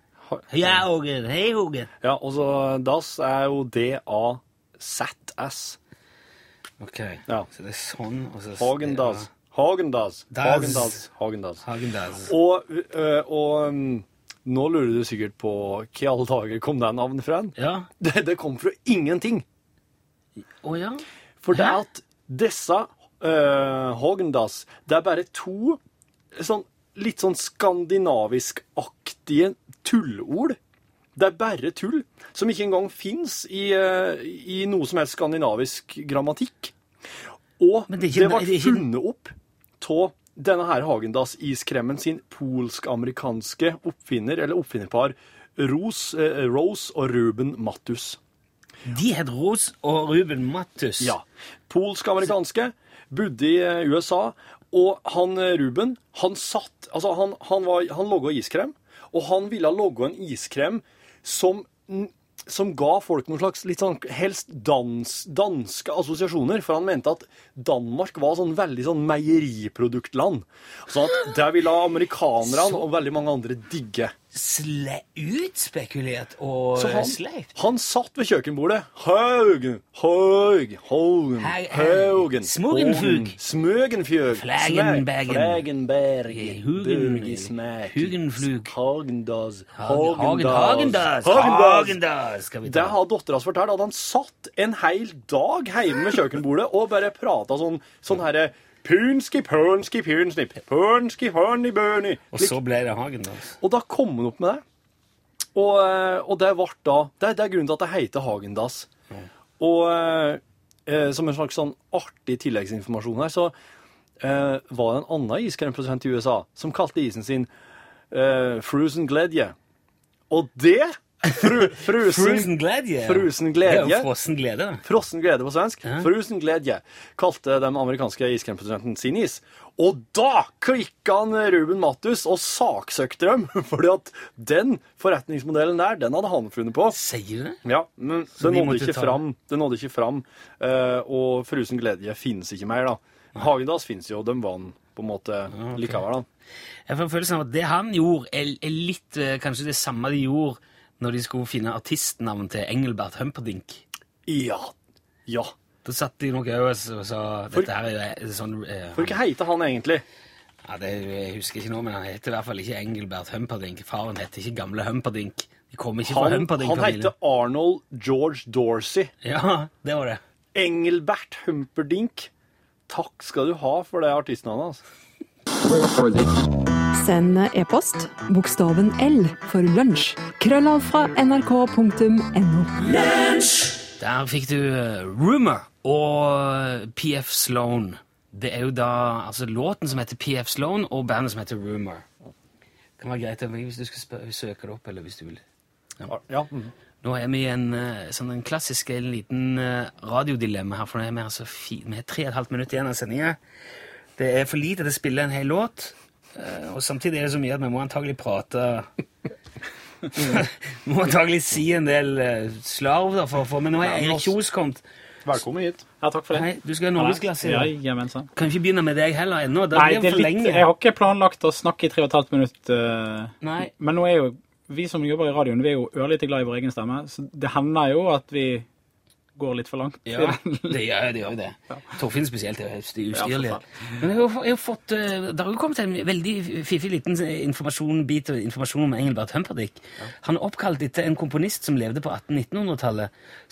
A: Hei, Hågen. Hei, Hågen.
B: Ja, og så DAS er jo D-A-Z-S.
A: Ok,
B: Ja.
A: så det er sånn. og så-
B: Hagendas. Hagendas.
A: Das.
B: Hagendas. Hagendas.
A: Hagendas.
B: Og, ø, og um, nå lurer du sikkert på hva i alle dager kom det navnet fra?
A: Ja.
B: Det, det kom fra ingenting.
A: Å ja?
B: For det
A: Hæ?
B: er at disse uh, Hagendas, det er bare to sånn, litt sånn skandinavisk-aktige tullord. Det er bare tull, som ikke engang fins i, eh, i noe som helst skandinavisk grammatikk. Og
A: Men
B: det,
A: det er ikke-
B: var
A: det er ikke-
B: funnet opp av denne her Hagendas-iskremen sin polsk-amerikanske oppfinner, eller oppfinnerpar, Rose, eh, Rose og Ruben Mattus.
A: De het Ros og Ruben Mattus.
B: Ja. Polsk-amerikanske, bodde i eh, USA, og han eh, Ruben, han satt Altså, han, han, var- han logga iskrem, og han ville logge en iskrem som som ga folk noen slags litt sånn helst dans, danske assosiasjoner, for han mente at Danmark var sånn veldig sånn meieriproduktland. Så at der ville amerikanerne og veldig mange andre digge.
A: Sle utspekulert og
B: Så han,
A: sleipt.
B: han satt ved kjøkkenbordet. Haugen, Haug, Haugen,
A: Haug,
B: Haugen.
A: Smogenfug.
B: Haugen, Smøgenfjøg.
A: Flagenbergen.
B: Flagenbergen.
A: Hugen-
B: Bøgismæk.
A: Hugenflug.
B: Hagendas.
A: Hagen, Hagendas.
B: Hagendas.
A: Hagendas, skal vi
B: Det
A: ta.
B: har dattera hans fortalt, at han satt en hel dag hjemme ved kjøkkenbordet og bare prata sånn, sånn herre Punski, punski, punsnipp, punski, hørni, bøni.
A: Og så ble det Hagendas.
B: Og da kom han opp med det. Og, eh, og det ble da det, det er grunnen til at det heter Hagendass. Og eh, som en slags sånn artig tilleggsinformasjon her, så eh, var det en annen iskremprodusent i USA som kalte isen sin eh, Frusen Gledje. Og det Fru, frusen,
A: Frusen gledje.
B: frusen
A: Det er jo
B: gledje.
A: Frossen glede, da.
B: Frossen glede på svensk.
A: Ja.
B: Frusen gledje, kalte den amerikanske iskremprodusenten sin is. Og da klikka han Ruben Mattus og saksøkte dem, fordi at den forretningsmodellen der, den hadde han funnet på.
A: Sier du det?
B: Ja, men
A: de
B: det nådde,
A: måtte
B: ikke
A: ta-
B: fram, det nådde ikke fram. eh, og Frusen gledje finnes ikke mer, da. Hagendas finnes jo, og dem vant på en måte likevel, da.
A: Jeg får følelsen av at det han gjorde, er, er litt eh, kanskje det samme de gjorde når de skulle finne artistnavn til Engelbert Humperdinck.
B: Ja. Ja.
A: Da satt de nok øverst og sa Dette her er jo sånn eh,
B: For hva heter han egentlig?
A: ja, det, Jeg husker ikke nå, men han heter i hvert fall ikke Engelbert Humperdinck. Faren heter ikke Gamle Humperdinck. De kommer ikke fra
B: Han, han
A: Humperdinck-familien.
B: heter Arnold George Dorsey.
A: Ja, det var det.
B: Engelbert Humperdinck. Takk skal du ha for det artistnavnet. Altså.
H: Send e-post bokstaven L for lunsj. Krøllav fra nrk.no.
A: Der fikk du eh, Rumor og PF Sloan. Det er jo da altså låten som heter PF Sloan, og bandet som heter Rumor. Det kan være greit å- hvis du skal spø- søke det opp, eller hvis du vil.
B: Ja. mhm.
A: Nå er vi i en eh, sånn en klassisk en liten eh, radiodilemma her, for nå er vi altså fi, vi har tre og et halvt minutt igjen av sendingen. Det er for lite til å spille en hel låt, eh, og samtidig er det så mye at vi må antagelig prate Må antagelig si en del eh, slarv, da, for, for, men nå er Erik Kjos kommet.
B: Velkommen hit.
F: Ja, takk for det.
A: Nei, du skal ha norgesklasse i dag.
F: Jajamensan.
A: Kan ikke begynne med deg heller ennå. Da
F: Nei,
A: blir
F: det
A: det
F: er
A: for
F: litt,
A: lenge.
F: jeg har ikke planlagt å snakke i tre og et halvt minutt. eh,
A: Nei.
F: Men nå er jo vi som jobber i radioen, vi er jo ørlite glad i vår egen stemme, så det hender jo at vi går litt for langt. i
A: Ja,
F: den.
A: det gjør det. Gjør det. Torfinn spesielt er høyst ustyrlig.
F: Ja, for
A: Men jeg har, jo- jeg har fått, eh, det har jo kommet en veldig fiffig liten eh, informasjon, bit av informasjon om Engelbert Humperdinck. Han er oppkalt etter en komponist som levde på 1800-1900-tallet,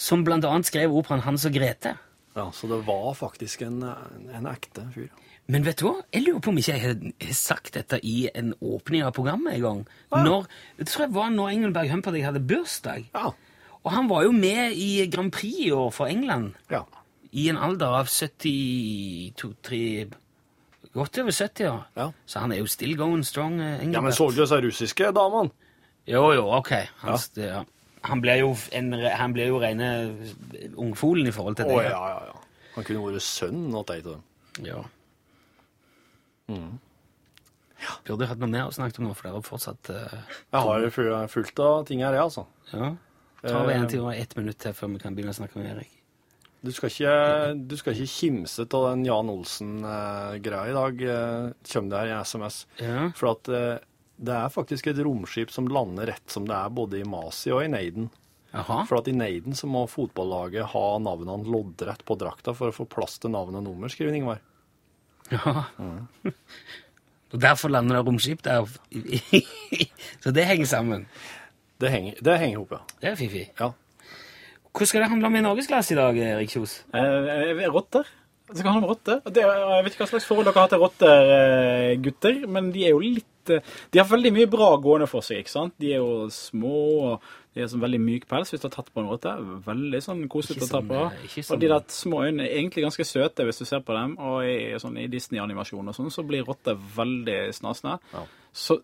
A: som blant annet skrev operaen Hans og Grete.
B: Ja, Så det var faktisk en, en ekte fyr.
A: Men vet du hva? Jeg lurer på om ikke jeg har- har sagt dette i en åpning av programmet en gang. Når, det tror jeg var når Engelberg Humperdinck hadde bursdag.
B: Ja.
A: Og han var jo med i Grand Prix i år for England.
B: ja.
A: I en alder av 72-3 Godt over 70 år.
B: Ja.
A: Så han er jo still going strong. eh,
B: Ja, Men
A: Engelbert.
B: så du disse russiske damene?
A: Jo, jo, ok. Han, st- ja. han blir jo, en re- han blir jo rene eh, ungfolen i forhold til
B: Å
A: det.
B: ja, ja, ja. Han kunne vært sønnen til ei av dem.
A: Ja.
B: Mm.
A: Burde hatt noe mer å snakke om nå, for det er jo fortsatt eh,
B: Jeg har fu- fullt av ting her, jeg, altså.
A: Ja. Tar vi en til og ett minutt til før vi kan begynne å snakke med Erik?
B: Du skal ikke, du skal ikke kimse av den Jan Olsen-greia i dag. eh, Kjem det her i SMS.
A: Ja.
B: For at eh, det er faktisk et romskip som lander rett som det er, både i Masi og i Neiden.
A: Jaha.
B: For at i Neiden så må fotballaget ha navnene loddrett på drakta for å få plass til navn og nummer, skriver Ingvar.
A: Ja.
B: Mm.
A: Og derfor lander det romskip der. Så det henger sammen.
B: Det henger, det henger ihop, ja.
A: Det er fiffig.
B: Ja.
A: Hvordan skal det handle om i norgesklasse i dag, Erik Kjos?
F: Eh, eh, Rotter? Det skal handle om rotter. Det, eh, jeg vet ikke hva slags forhold dere har til rotter, eh, gutter, men de er jo litt eh, De har veldig mye bra gående for seg, ikke sant? De er jo små, og de har sånn veldig myk pels hvis du har tatt på en rotte. Veldig sånn koselig
A: Ikke
F: å ta
A: sånn,
F: på.
A: eh, ikke sånn-
F: Og de der små øynene er egentlig ganske søte hvis du ser på dem, og i, sånn, i Disney-animasjon og sånn, så blir rotter veldig snasende. Så,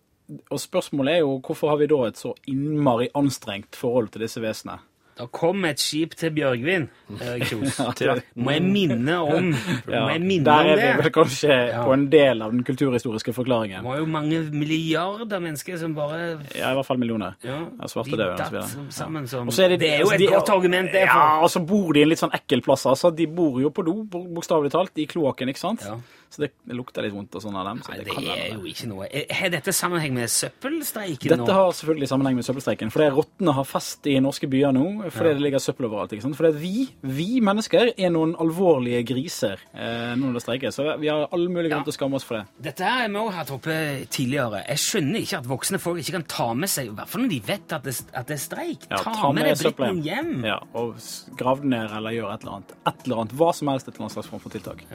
F: og spørsmålet er jo hvorfor har vi da et så innmari anstrengt forhold til disse vesenene?
A: Da kom et skip til Bjørgvin, Erik Kjos.
F: Til-
A: Må jeg minne om, må jeg minne
F: Der
A: om
F: er vi
A: det?
F: vel kanskje på en del av den kulturhistoriske
A: Det
F: forklaringen.
A: var jo mange milliarder mennesker som bare
F: Ja, i hvert fall millioner.
A: ja,
F: Ja, svarte
A: de
F: døde, og så
A: datt
F: videre.
A: som- sammen som
F: Og så er
A: det, er jo
F: altså,
A: et
F: de-
A: godt argument, det.
F: Ja,
A: For.
F: og så bor de i en litt sånn ekkel plass, altså. De bor jo på do, bo- bokstavelig talt, i kloakken, ikke sant?
A: Ja.
F: Så det lukter litt vondt og sånn av dem. Så
A: Nei,
F: det kan
A: det er
F: være.
A: jo ikke noe Er- Har dette sammenheng med søppelstreiken nå?
F: Dette har selvfølgelig sammenheng med søppelstreiken. Fordi rottene har fest i norske byer nå fordi det ligger søppel overalt. ikke sant? Fordi at vi, vi mennesker er noen alvorlige griser eh, nå når det streikes. Så vi har all mulig grunn til å skamme oss for det.
A: Dette her har vi også hatt oppe tidligere. Jeg skjønner ikke at voksne folk ikke kan ta med seg I hvert fall når de vet at det, at det er streik.
F: Ja,
A: ta, med deg
F: søppelet
A: dritten hjem.
F: Ja, og s- grav den ned eller gjør et eller annet. Et eller annet, Hva som helst, et eller annet slags form for tiltak.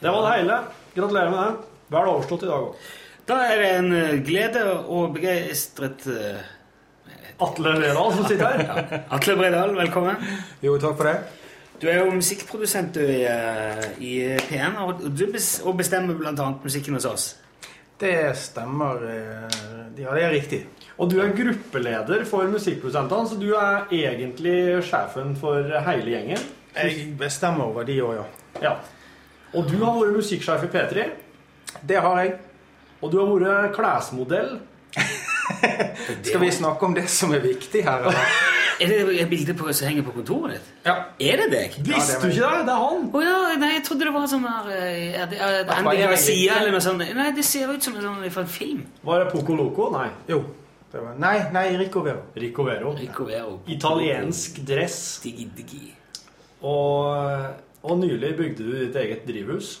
I: Det var det hele. Gratulerer med det. Vel overstått i dag òg.
A: Da er det en eh, glede og begeistret eh,
I: Atle Redal som sitter her.
A: Atle Bredal, velkommen.
J: Jo, takk for det.
A: Du er jo musikkprodusent du i, eh, i P1, og og du bes og bestemmer blant annet musikken hos oss.
K: Det stemmer. eh, Ja, det er riktig.
B: Og du er gruppeleder for musikkprodusentene, så du er egentlig sjefen for hele gjengen.
K: Jeg bestemmer over de òg, ja.
B: ja. Og du har vært musikksjef i P3.
K: Det har jeg.
B: Og du har vært klesmodell.
K: Skal vi snakke om det som er viktig her? Eller?
A: Er det et bilde på- som henger på kontoret ditt?
K: Ja.
A: Er det deg?
K: Visste du ikke
B: det? Det er han.
A: Å ja, nei, jeg trodde det var sånn her eh, er det- er det
K: Hva
A: Andy
K: er det?
A: Garcia eller noe sånt. Nei, det ser ut som sånn fra en film.
B: Var det Poco Loco? Nei.
K: Jo. Det var, nei, nei, Rico Vero.
B: Rico Vero. Italiensk dress. Og, og nylig bygde du ditt eget drivhus.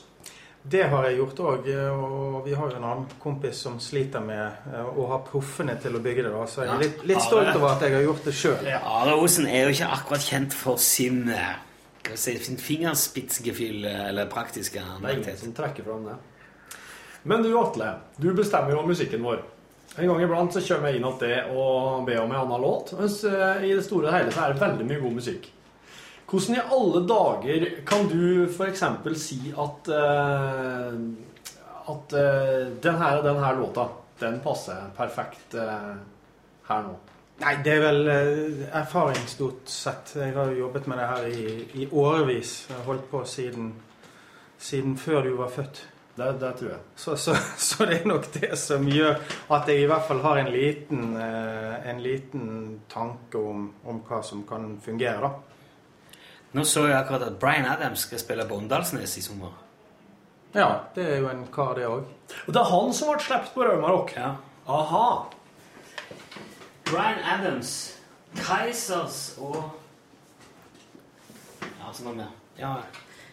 K: Det har jeg gjort òg. Og vi har jo en annen kompis som sliter med eh, å ha proffene til å bygge det. da, Så jeg
A: Ja.
K: er litt, litt
A: Ja,
K: stolt
A: det-
K: over at jeg har gjort det sjøl.
A: Ja, Are Osen er jo ikke akkurat kjent for sin, eh, hva skal jeg si, sin fingerspitzgefühl eh, eller praktiske
B: Det er ingen
A: anlegg.
B: som trekker fram det. Men du, Atle, du bestemmer jo musikken vår. En gang iblant så kommer jeg inn til det og ber om en annen låt. Mens eh, i det store og hele så er det veldig mye god musikk. Hvordan i alle dager kan du f.eks. si at eh, at eh, den her og den her låta, den passer perfekt eh, her nå?
K: Nei, det er vel eh, erfaring stort sett. Jeg har jo jobbet med det her i, i årevis. Jeg har holdt på siden, siden før du var født.
B: Det, tror jeg.
K: Så, så, så det er nok det som gjør at jeg i hvert fall har en liten, eh, en liten tanke om, om hva som kan fungere, da.
A: Nå så jeg akkurat at Bryan Adams skal spille på Åndalsnes i sommer.
K: Ja, det er jo en kar, det òg.
B: Og det er han som ble sluppet på Raumarock? Aha.
A: Bryan Adams, Kaisers og Ja, så noe mer. Ja.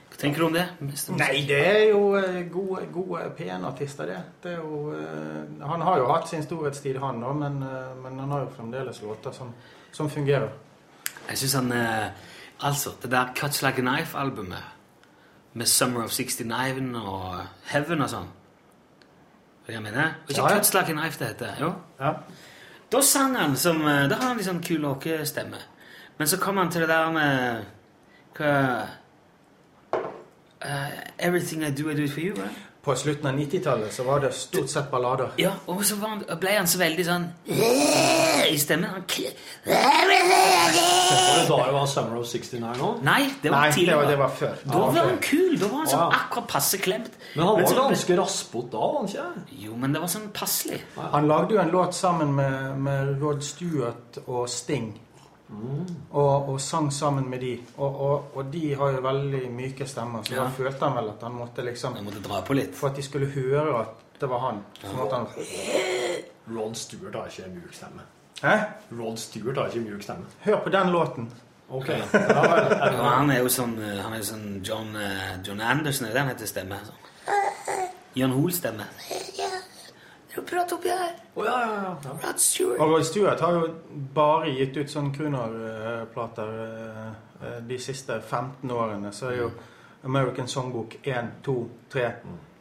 A: Hva tenker du om det? Mr.
K: Nei, det er jo eh, gode, gode PN-artister, det. det er jo, eh, han har jo hatt sin storhetstid, han da, men, eh, men han har jo fremdeles låter som, som fungerer.
A: Jeg synes han eh, Altså, det der Cuts Like a Knife-albumet med Summer of 69 og Heaven og sånn Vet du hva jeg mener? Og ikke
K: Ja, ja.
A: Cuts Like a Knife det heter, jo. Da sang han som eh, Da har han litt sånn kul åkestemme. Men så kom han til det der med hva, eh, Everything I do, I do it for you. Right?
K: På slutten av 90-tallet så var det stort sett ballader.
A: Ja, og så var han, ble han så veldig sånn I stemmen. Han kli- Nei,
B: Var det da det var Summer of 69 nå?
A: det var
B: Nei, det
A: tidligere.
B: var- det var før.
A: Da
B: Ja, ok.
A: var han kul. Da var han sånn
B: Ja.
A: akkurat passe klemt.
B: Men han
A: så
B: var
A: ble-
B: ganske raspete da, var han ikke? det?
A: Jo, men det var sånn passelig.
K: Han lagde jo en låt sammen med, med Rod Stewart og Sting. Og, og sang sammen med de. Og, og, og de har jo veldig myke stemmer, så
A: Ja.
K: da følte han vel at han måtte liksom
A: dra på litt.
K: For at de skulle høre at det var han. Så måtte han
B: Rod Stewart har ikke mjuk stemme.
K: Hæ?
B: Rod Stewart har ikke mjuk stemme.
K: Hør på den låten.
B: Ok.
A: Og han er jo sånn, eh, han er jo sånn John, eh, John Anderson, er det han heter stemme? Sånn. John Hoel-stemme. Prat oppi her.
B: Å ja, ja, ja.
A: Rod Stewart.
K: Og Rod Stewart har jo bare gitt ut sånn crooner-plater eh, eh, de siste 15 årene. Så er jo American Songbook 1, 2, 3,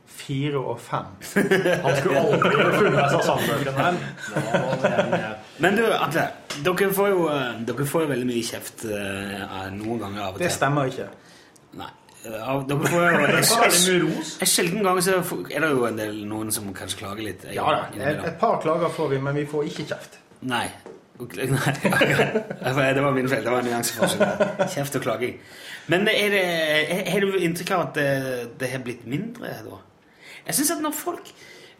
K: 4 og 5.
B: Han skulle aldri funnet seg sangboken her. eh,
A: Men du, Atle, dere får jo, eh, dere får jo veldig mye kjeft eh, av- noen ganger av og til.
K: Det stemmer ikke.
A: Nei. eh, av- Dere får jo
K: Det var veldig mye ros.
A: En sjelden gang så får- er det jo en del noen som kanskje klager litt. eh,
K: Ja da. Et, et par klager får vi, men vi får ikke kjeft.
A: Nei. Ok, Nei, ok. Det var min feil. Det var nyanseforskjell. Kjeft og klaging. Men er det, er- har du inntrykk av at det, det har blitt mindre da? Jeg syns at når folk,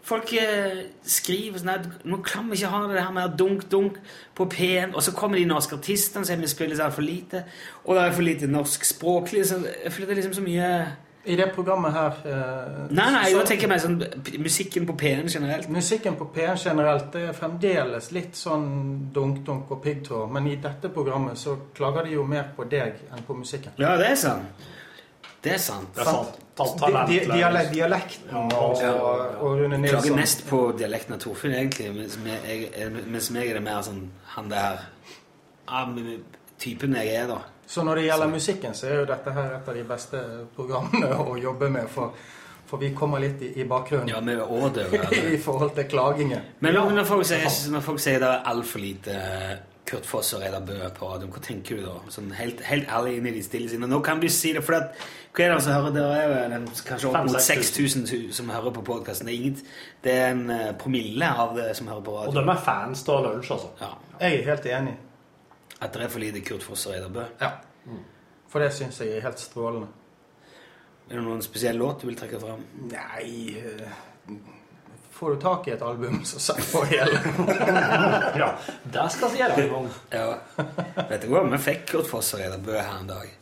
A: folk eh, skriver sånn at Nå kan vi ikke ha det her med dunk-dunk på P1, og så kommer de norske artistene som spiller så altfor lite, og det er for lite norsk språklig så Jeg føler det er liksom så mye
K: I det programmet her eh,
A: Nei, nei,
K: så-
A: jeg tenker meg sånn p- musikken på P1 generelt.
K: Musikken på P1 generelt det er fremdeles litt sånn dunk-dunk og piggtråd, men i dette programmet så klager de jo mer på deg enn på musikken.
A: Ja, det er sant. Det er sant.
K: Sant? Di- di- dialek- Dialekten og, og, og Rune Nilsson.
A: Klager mest på dialekten av Torfinn, egentlig. Mens meg, jeg, eh, mens meg er det mer sånn han der ah, men, Typen jeg er, da.
K: Så når det gjelder musikken, så er jo dette her et av de beste programmene å jobbe med, for, for vi kommer litt i, i bakgrunnen
A: Ja, vi er overdøve.
K: i forhold til klagingen.
A: Men når folk sier, når folk sier det er altfor lite Kurt Foss og Reidar Bø på radioen, hva tenker du da? Sånn helt, helt ærlig inn i ditt stille sinn. Og nå kan du si det, for at, hva er det som hører dere? er jo en- Kanskje opp mot
B: 5-6
A: 6000 som hører på podkasten. Det, er inget- det er en eh, promille av det som hører på
B: Og
A: radioen.
B: de er fans av lunsj, altså.
K: Jeg er helt enig.
A: At det er for lite Kurt Foss og Reidar Bø.
K: For det syns jeg er helt strålende.
A: Er det noen spesiell låt du vil trekke fram?
K: Nei eh, Får du tak i et album, så sett på hele.
B: ja, det skal vi gjøre en gang.
A: Ja. Vet du hva, vi fikk Kurt Foss og Reidar Bø her en dag.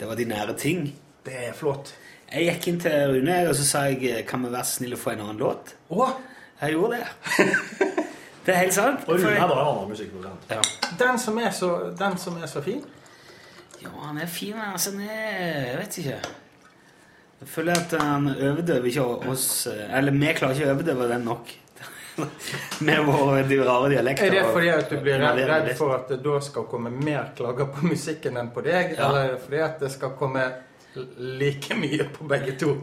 A: Det var de nære ting.
K: Det er flott.
A: Jeg gikk inn til Rune og så sa jeg, eh, kan vi være snille å få en annen låt? Jeg gjorde det. det er helt sant.
K: Og Rune er da en
B: annen musikkprodusent.
A: Ja.
K: Den som er så, den som er så fin.
A: Ja, han er fin, men altså, han er Jeg vet ikke. Jeg føler at han overdøver ikke oss eh, Eller vi klarer ikke å overdøve den nok. Med våre de rare dialekter.
K: Er det fordi at du
A: og-
K: blir redd,
A: Ja, det er
K: redd
A: det.
K: for at det da skal komme mer klager på musikken enn på deg?
A: Ja.
K: Eller er det fordi at det skal komme like mye på begge to?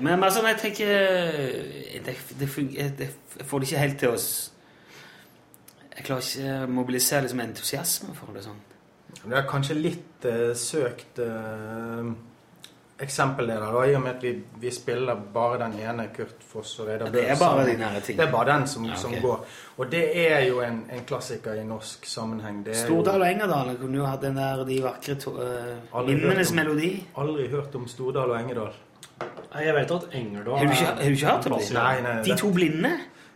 A: Men altså, jeg tenker øh, det, det fungerer, det, Jeg får det ikke helt til å s- Jeg klarer ikke å mobilisere liksom entusiasme for det sånn.
K: Det er kanskje litt eh, søkt eh, eksempel det der, da, i og med at vi, vi spiller bare den ene Kurt Foss og Reidar
A: Ja, det er
K: Bøe
A: bare
K: sammen.
A: de nære ting.
K: Det er bare den som,
A: Ja, ok.
K: som går. Og det er jo en, en klassiker i norsk sammenheng. Det er
A: Stordal og Engerdal kunne jo hatt den der de vakre to, eh,
K: Aldri hørt
A: minnenes
K: om.
A: melodi.
K: jo aldri hørt om Stordal og Engerdal.
B: Nei, Jeg vet at Engerdal
A: Har du ikke- har du ikke hørt om de?
K: Nei, nei,
A: De to blinde?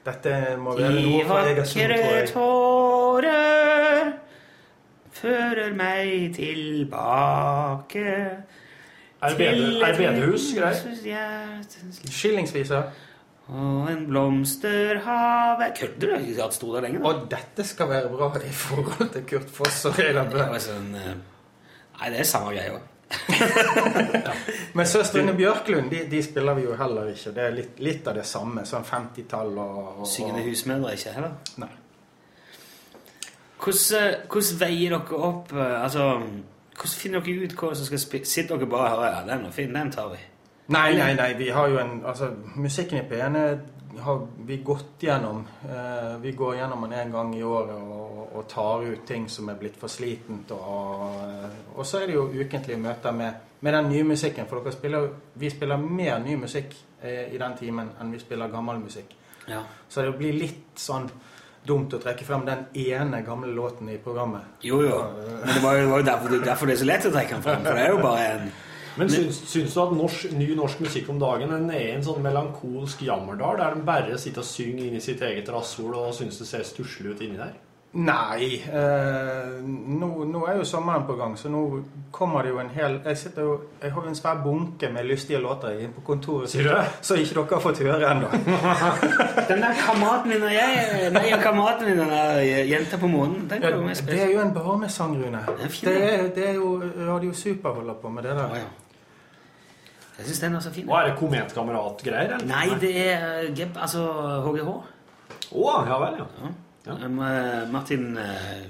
K: Dette må være
A: De
K: noe fra Egersund, tror
A: vakre
K: jeg.
A: tårer fører meg tilbake
K: Er det bedre- er det bedehus,
A: greier?
K: Skillingsviser.
A: Og en blomsterhav Kødder du? Jeg har ikke hatt Stordal lenge.
K: Og dette skal være bra i forhold til Kurt Foss og Reidar Bøe.
A: sånn, eh, Nei, det er samme greia.
K: Men Søstrene Bjørklund de, de spiller vi jo heller ikke. Det er litt, litt av det samme. Sånn 50-tall og, og
A: Syngende husmødre ikke heller?
K: Nei.
A: Hvordan, eh, hvordan veier dere opp eh, Altså, hvordan finner dere ut hva som skal spille? Sitter dere bare og hører ja, den og fin, den tar vi?
K: Nei, nei, nei. Vi har jo en Altså, musikken i P1 er- har vi gått gjennom. Eh, vi går gjennom den en gang i året og, og tar ut ting som er blitt for slitent. Og, og så er det jo ukentlige møter med, med den nye musikken. For dere spiller, vi spiller mer ny musikk eh, i den timen enn vi spiller gammel musikk.
A: Ja.
K: Så det blir litt sånn dumt å trekke frem den ene gamle låten i programmet.
A: Jo, jo. Men det var jo det var jo derfor, det- derfor det er så lett å trekke den fram. For det er jo bare en
B: Men syns, syns du at norsk, ny norsk musikk om dagen den er en sånn melankolsk jammerdal, der de bare sitter og synger inni sitt eget rasshol og syns det ser stusslig ut inni der?
K: Nei. Eh, nå, nå er jo sommeren på gang, så nå kommer det jo en hel Jeg, sitter jo, jeg har jo en svær bunke med lystige låter inne på kontoret
B: Sier du det?
K: så ikke dere har fått høre ennå.
A: Den der kameraten min og jeg Nei, og kameraten min den der jenta på månen, den kommer jeg
K: Det
A: spille.
K: er jo en barmesang, Rune.
A: fin,
K: Det er, det er jo Radio Super holder på med det der.
A: Jeg syns den er så fin.
B: Hva er det kometkamerat-greier? eller?
A: Nei, det er eh, Geb, altså HGH.
B: Å, ja vel, ja.
A: Um, eh, Martin eh,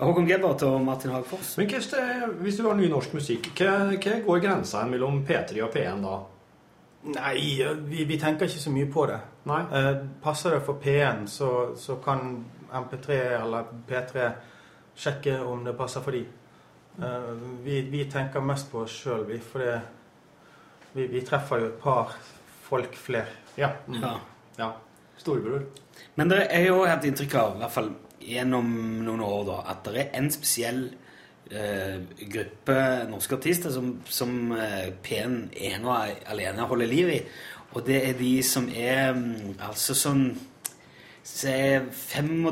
A: Håkon Gebbert og Martin Hagfors.
B: Men hvis, det, hvis du har ny norsk musikk, hva, hva går grensa hen mellom P3 og P1 da?
K: Nei, vi, vi tenker ikke så mye på det.
B: Nei.
K: Eh, passer det for P1, så, så kan MP3 eller P3 sjekke om det passer for de. Eh, vi, vi tenker mest på oss sjøl, vi. For det, vi, vi treffer jo et par folk flere.
B: Ja.
A: Ja.
B: ja. Storebror.
A: Men det er jo hatt inntrykk av, i hvert fall gjennom noen år, da, at det er en spesiell eh, gruppe norske artister som, som eh, P1 ene og alene holder liv i. Og det er de som er mm, altså sånn Se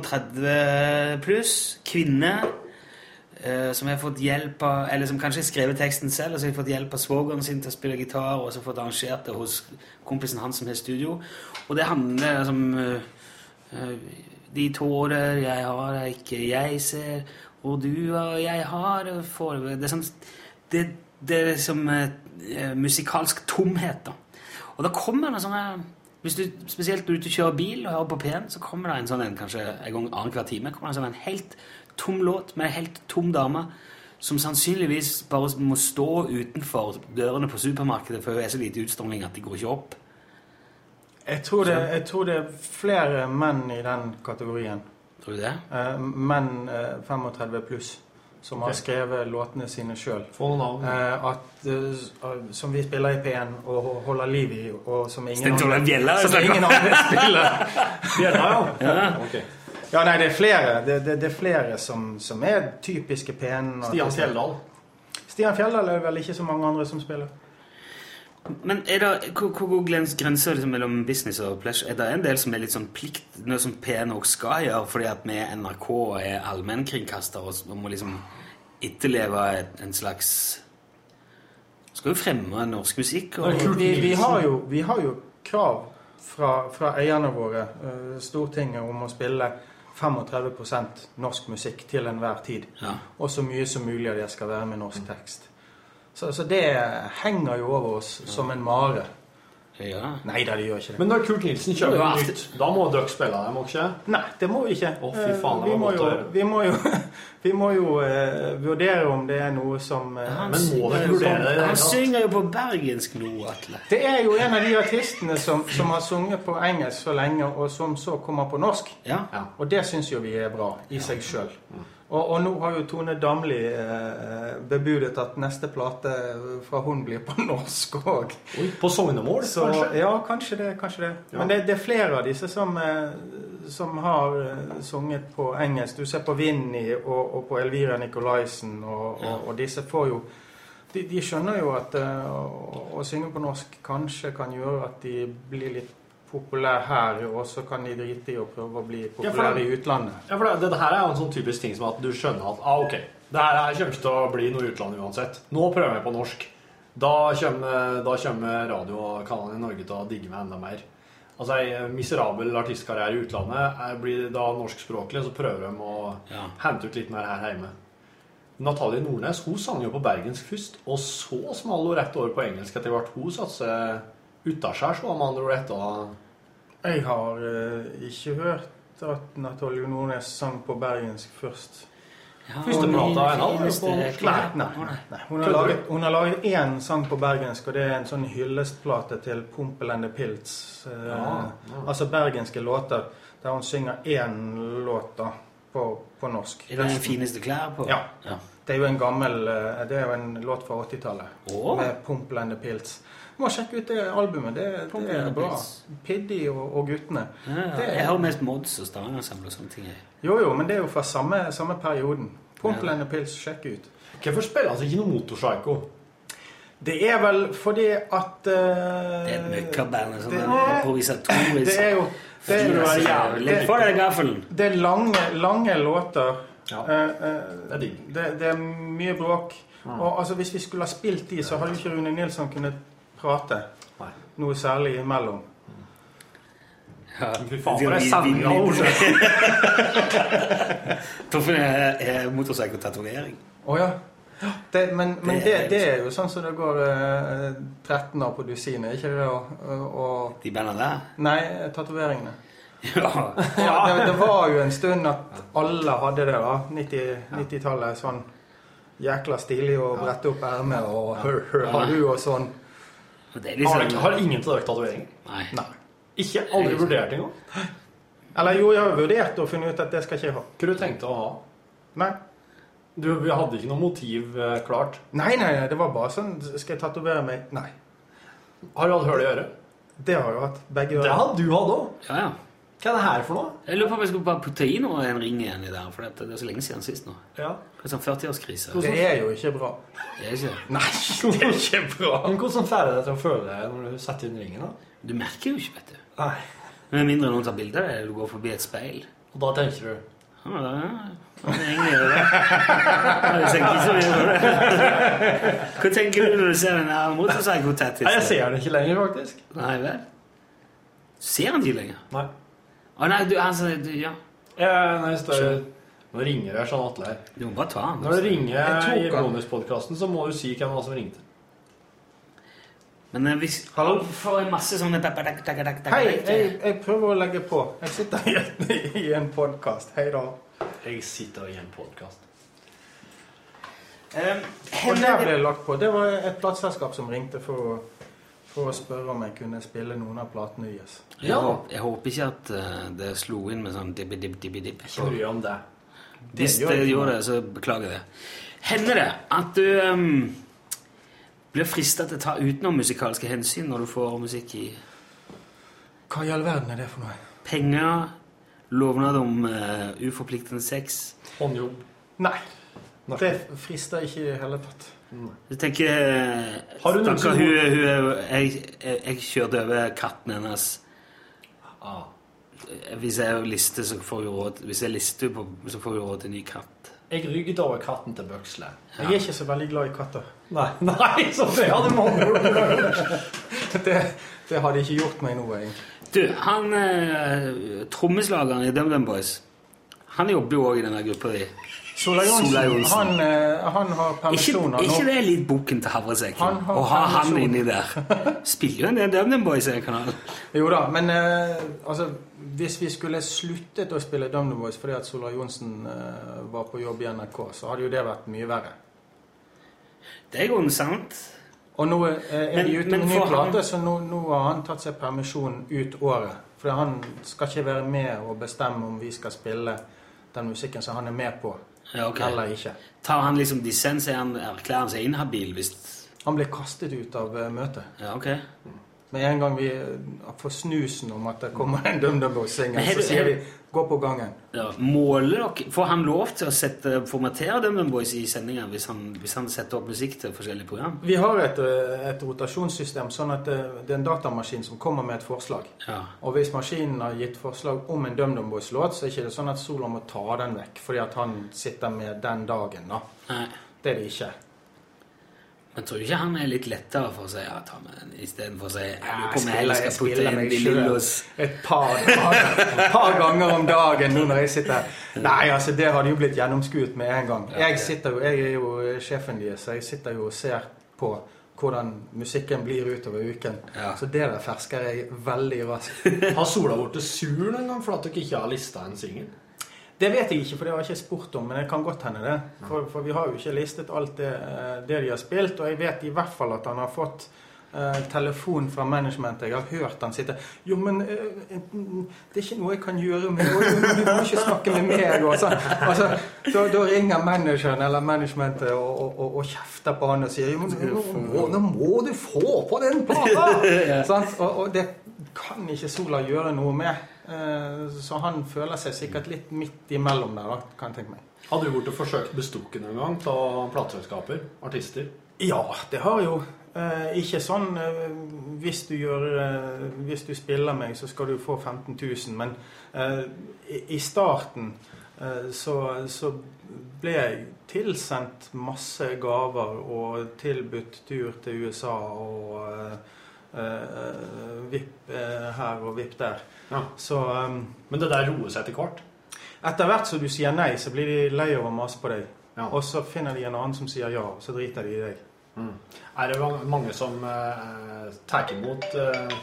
A: 35 pluss, kvinner. eh, som har fått hjelp av, eller som kanskje har skrevet teksten selv, og så har de fått hjelp av svogeren sin til å spille gitar, og så har de fått arrangert det hos kompisen hans som har studio. Og det handler som De tårer jeg har, er ikke jeg ser, og du og jeg har eh, får Det er sånn Det, det er som eh, eh, musikalsk tomhet, da. Og da kommer det sånne hvis du, Spesielt når du kjører bil og hører på P1, så kommer det en sånn en kanskje en gang annenhver time kommer det en sånn en helt tom låt med en helt tom dame som sannsynligvis bare må stå utenfor dørene på supermarkedet, for hun er så lite utstråling at de går ikke opp.
K: Jeg tror, det, jeg tror det er flere menn i den kategorien.
A: Tror du det?
K: Eh, menn eh, 35 pluss som har
A: Ok.
K: skrevet låtene sine sjøl.
B: Få
K: Mm.
B: noen navn.
K: Eh, som vi spiller i P1 og ho- holder liv i, og som ingen
A: Sten Torleif Bjella,
K: som
A: snakker
K: ingen
A: om.
K: andre spiller.
B: Bjella, ja.
K: Ok. Ja, nei, det er flere. Det, det, det er flere som, som er typiske P1.
B: Stian Fjelldal.
K: Stian Fjelldal er det vel ikke så mange andre som spiller.
A: Men er det, hvor, hvor går glens- grenser liksom mellom business og pleasure? Er det en del som er litt sånn plikt, noe som PN også skal gjøre, fordi at vi i NRK er allmennkringkaster og s- og må liksom etterleve et, en slags Skal jo fremme norsk musikk og
K: vi, vi, har jo, vi har jo krav fra, fra eierne våre, eh, Stortinget, om å spille 35 norsk musikk til enhver tid.
A: Ja.
K: Og så mye som mulig av det skal være med norsk tekst. Så, så det henger jo over oss som en mare.
A: Ja.
K: Nei da, det gjør ikke det.
B: Men når Kurt Nilsen kjøper
K: Ja,
B: nytt, da må dere spille dem, må dere ikke?
K: Nei, det må vi ikke.
B: Å, fy faen, det
K: Eh, vi,
B: var
K: må
B: godt
K: jo,
B: å høre.
K: vi må jo, vi må jo eh, vurdere om det er noe som eh,
A: Han
B: Men må dere
A: synger jo på-
B: vurdere det i det hele
A: Han
B: tatt?
A: synger jo på bergensk nå, Atle.
K: Det er jo en av de artistene som, som har sunget på engelsk så lenge, og som så kommer på norsk.
A: Ja.
K: Og det syns jo vi er bra i seg sjøl. Og, og nå har jo Tone Damli eh, bebudet at neste plate fra hun blir på norsk òg.
B: På sognemål,
K: Så,
B: kanskje?
K: ja, kanskje det. kanskje det.
B: Ja.
K: Men det, det er flere av disse som, eh, som har eh, sunget på engelsk. Du ser på Vinni og, og på Elvira Nicolaisen, og,
A: Ja.
K: og, og disse får jo de, de skjønner jo at eh, å, å synge på norsk kanskje kan gjøre at de blir litt populære her, og så kan de drite i å prøve å bli
B: Ja, for
K: populære
B: det-
K: i utlandet.
B: Ja, for det, det her er jo en sånn typisk ting som at du skjønner at ah, ok, det her her kommer ikke til å bli noe i utlandet uansett. Nå prøver jeg på norsk. Da kommer, da kommer radiokanalen i Norge til å digge meg enda mer. Altså, En miserabel artistkarriere i utlandet eh, blir da norskspråklig, så prøver de å
A: Ja.
B: hente ut litt mer her hjemme. Natalie Nordnes hun sang jo på bergensk først, og så smalt hun rett over på engelsk etter hvert. Hun satser utaskjærs, med andre ord, etter
K: Jeg har eh, ikke hørt at Natalie Nordnes sang på bergensk først.
B: Første plata er en av
K: Nei, nei, nei, nei. Hun, har
B: Kødder
K: laget, hun har laget én sang på bergensk, og det er en sånn hyllestplate til Pompel and the Pilts. eh,
B: Ja, ja.
K: Altså bergenske låter der hun synger én låt da, på, på norsk.
A: Er det den fineste klær på?
K: Ja.
A: ja.
K: Det er jo en gammel eh, Det er jo en låt fra 80-tallet.
A: Å.
K: Med Pompel and the Pilts. Må sjekke ut det albumet. Det,
A: Pompel
K: det
A: and
K: er
A: the
K: bra.
A: Pilts.
K: Piddy og, og guttene.
A: Ja, ja.
K: Det er- Eh,
A: Jeg har mest mods og Stavanger-samler og sånne ting. jeg.
K: Jo, jo, men det er jo fra samme, samme perioden. Pompel and the Pills, sjekk ut.
B: Hvorfor spiller han ikke noe motorpsycho?
K: Det er vel fordi at eh,
A: Det er et møkkaband. Sånn
K: det-
A: improvisatorisk.
K: Det er jo det er,
A: Fyrer seg
K: det,
A: jævlig.
K: det,
A: Få deg gaffelen.
K: det er lange, lange låter.
B: Ja.
K: Eh, eh,
B: Det er digg.
K: det, det er mye bråk. Og altså, hvis vi skulle ha spilt de, så hadde jo ikke Rune Nilsson kunnet prate
B: Nei.
K: noe særlig imellom.
A: Ja.
B: Fy faen, for ei sending av ord!
A: Toffen er, er motorsykkeltatovering.
K: Å ja. Det, men men
A: Det
K: det,
A: er-
K: det er jo sånn som det går eh, 13 år på dusinet, ikke det? Og, og
A: De bandene der.
K: Nei, tatoveringene.
A: Ja.
K: Ja, det, det var jo en stund at alle hadde det, da. 90 90-tallet. sånn jækla stilig å brette opp ermet og hør, hør, har du og sånn.
A: Og Det er
B: Har,
A: liksom
B: har ingen til dere tatovering?
A: Nei.
K: Nei.
B: Ikke? Aldri vurdert engang?
K: Eller jo, jeg har vurdert og funnet ut at det skal ikke jeg ha.
B: Hva du tenkte å ha?
K: Nei.
B: Du, vi hadde ikke noe motiv eh, klart.
K: Nei, nei, nei, det var bare sånn Skal jeg tatovere meg? Nei.
B: Har du hatt hull i øret?
K: Det har jeg hatt. Begge
B: Det
K: ører.
B: hadde du hatt òg!
A: Ja, ja.
B: Hva er det her for noe?
A: Jeg lurer på om jeg skulle bare putte i noe i en ring igjen i der, for dette- det er så lenge siden sist nå.
B: Ja.
A: Det er sånn 40-årskrise.
K: Det er jo ikke bra.
A: Det er ikke
K: Nei, det er ikke bra.
B: Men hvordan får du deg til å føle det når du setter inn ringen? da?
A: Du merker jo ikke, vet du.
B: Nei.
A: Med mindre noen tar bilder eller du går forbi et speil.
B: Og da tenker du
A: Ja, men da- ja, det er egentlig det. Ja, jeg tenker ikke så mye på det. Hva tenker du når du ser den her motorsykkeltattisen?
B: Nei, jeg ser den ikke lenger, faktisk.
A: Nei vel? Ser han ikke lenger?
B: Nei.
A: Å nei, du, han sa du, Ja.
B: Jeg, når jeg står, nå ringer det sånn Atle her.
A: Du må bare ta han. altså.
B: Når det
K: Jeg
B: ringer
K: tok
B: i
K: han.
B: bonuspodkasten, så må du si hvem det var som ringte.
A: Men eh, hvis
K: Hallo?
A: Får jeg masse sånne
K: Hei, jeg, jeg prøver å legge på. Jeg sitter i, i en podkast. Hei da.
B: Jeg sitter i en podkast.
K: Og der ble det lagt på. Det var et plateselskap som ringte for å for å spørre om jeg kunne spille noen av platene deres.
A: Jeg, håper, jeg håper ikke at eh, det slo inn med sånn dibbi-dibbi-dibbi.
K: Ikke bry deg om det. Det
A: Hvis
K: gjør
A: det
K: ikke
A: gjorde
K: noe.
A: det, så beklager jeg det. Hender det at du ehm, blir frista til å ta utenom musikalske hensyn når du får musikk i
K: Hva i all verden er det for noe?
A: penger, lovnad om eh, uforpliktende sex Håndjobb.
K: Nei. Det frister ikke i det hele tatt.
A: Jeg tenker eh,
K: Har du noen
A: stakkar,
K: som-
A: hun, hun, er- jeg, jeg, jeg kjørte over katten hennes.
B: Ah.
A: Eh, Hvis jeg lister, så får hun råd Hvis jeg lister, på, så får hun råd til en ny katt.
B: Jeg rygget over katten til Bøksle.
K: Jeg er ikke så veldig glad i katter.
B: Nei, nei, så det hadde mange
K: det, det hadde ikke gjort meg noe, egentlig.
A: Du, han eh, trommeslageren i DumDum Boys, han jobber jo òg i denne gruppa di.
K: Solveig
A: Solveig
K: Johnsen,
A: Johnsen.
K: han, eh, han har
A: Ikke,
K: permisjoner nå.
A: ikke det er litt bukken til havresekken?
K: Han har
A: Å ha han
K: permisjon.
A: inni der. Spiller jo en del DumDum Boys i den kanalen.
K: Jo da, men eh, altså, hvis vi skulle sluttet å spille Dumb Voice fordi at Sola Johnsen eh, var på jobb i NRK, så hadde jo det vært mye verre.
A: Det er jo sant.
K: Og nå eh, er
A: Men-
K: de ute
A: men
K: med ny
A: for han-
K: plate, så nå, nå har han tatt seg permisjon ut året. For han skal ikke være med og bestemme om vi skal spille den musikken som han er med på,
A: Ja, ok.
K: eller ikke.
A: Tar han liksom dissens, er han- erklærer han seg inhabil hvis
K: Han ble kastet ut av eh, møtet.
A: Ja, ok.
K: Med en gang vi eh, får snusen om at det kommer en DumDum
A: Men
K: Boys-singel,
A: har du-
K: så sier vi 'gå på gangen'.
A: Ja, måler dere Får han lov til å sette, formatere DumDum Boys i sendinga hvis, han- hvis han setter opp musikk til forskjellige program?
K: Vi har et, eh, et rotasjonssystem, sånn at eh, det er en datamaskin som kommer med et forslag.
A: Ja.
K: Og hvis maskinen har gitt forslag om en DumDum Boys-låt, så er ikke det sånn at Sola må ta den vekk fordi at han sitter med den dagen, da.
A: Nei.
K: Det er det ikke.
A: Men tror du ikke han er litt lettere for å si ja, ta med den, istedenfor å si ja, du
K: Jeg
A: kommer heller skal
K: spiller- jeg
A: putte
K: spiller
A: inn
K: meg
A: de
K: selv
A: lillos
K: Et par, par, par ganger om dagen nå når jeg sitter Nei, altså, det hadde jo blitt gjennomskuet med en gang. Jeg, sitter jo, jeg er jo sjefen deres, så jeg sitter jo og ser på hvordan musikken blir utover uken. Så det der fersker jeg veldig raskt.
B: Har Sola blitt sur noen gang for at dere ikke har lista en singel?
K: Det vet jeg ikke, for det har jeg ikke spurt om, men det kan godt hende det. For, for vi har jo ikke listet alt det, eh, det de har spilt, og jeg vet i hvert fall at han har fått eh, telefon fra managementet. Jeg har hørt han sitte Jo, men eh, mm, det er ikke noe jeg kan gjøre med Jo, jo, men Du må ikke snakke med meg. Og sånn. altså, da, da ringer manageren eller managementet og, og, og, og kjefter på han og sier Jo, men nå, må, nå må du få på den plata! Sant? og, og det kan ikke Sola gjøre noe med. Eh, Så han føler seg sikkert litt midt imellom der, da, kan jeg tenke meg.
B: Har du blitt forsøkt bestukket noen gang av plateselskaper? Artister?
K: Ja, det har jeg jo. Eh, ikke sånn eh, hvis, du gjør, eh, hvis du spiller meg, så skal du få 15 000. Men eh, i, i starten eh, så, så ble jeg tilsendt masse gaver og tilbudt tur til USA og eh, eh, vipp eh, her og vipp der. Så,
B: Men det der roer seg etter hvert?
K: Etter hvert som du sier nei, eh, så blir de lei av å mase på deg. Og så finner de en annen som sier ja, og så driter de i deg.
B: Mm. Er det ma- mange som eh, tar imot eh,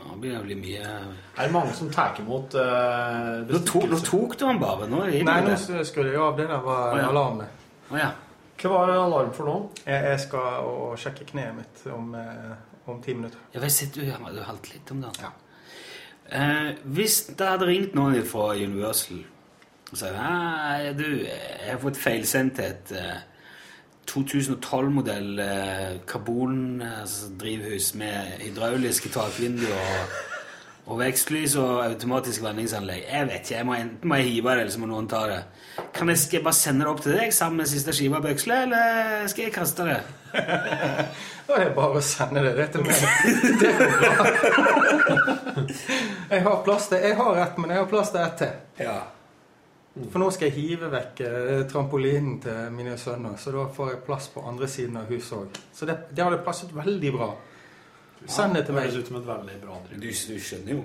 A: Nå blir det veldig mye
B: Er det mange som tar imot eh,
A: Nå tok, nå tok du han bare. Nå er det
K: Nei, nå skrudde jeg av. Det der var
A: Å, ja.
K: alarmen.
B: Hva var alarm for nå?
K: Jeg, jeg skal å sjekke kneet mitt om, eh, om ti minutter.
A: Ja, jeg sitter jo her, du halte litt om det. altså. Eh, hvis det hadde ringt noen fra Universal og sagt Nei, du, jeg har fått feilsendt et eh, 2012-modell eh, karbondrivhus med hydrauliske takvinduer og, og vekstlys og automatisk vendingsanlegg. Jeg vet ikke, jeg må enten må jeg hive det, eller så må noen ta det. Kan jeg, skal jeg bare sende det opp til deg sammen med siste skiva av Bøksle, eller skal jeg kaste det?
K: Da er det bare å sende det rett til meg. Det går bra. Jeg har plass til Jeg har ett, men jeg har plass til ett til. For nå skal jeg hive vekk eh, trampolinen til mine sønner, så da får jeg plass på andre siden av huset òg. Så det, det hadde passet veldig bra. Send det til meg.
B: Høres ut som et veldig bra driv.
A: Du, du skjønner jo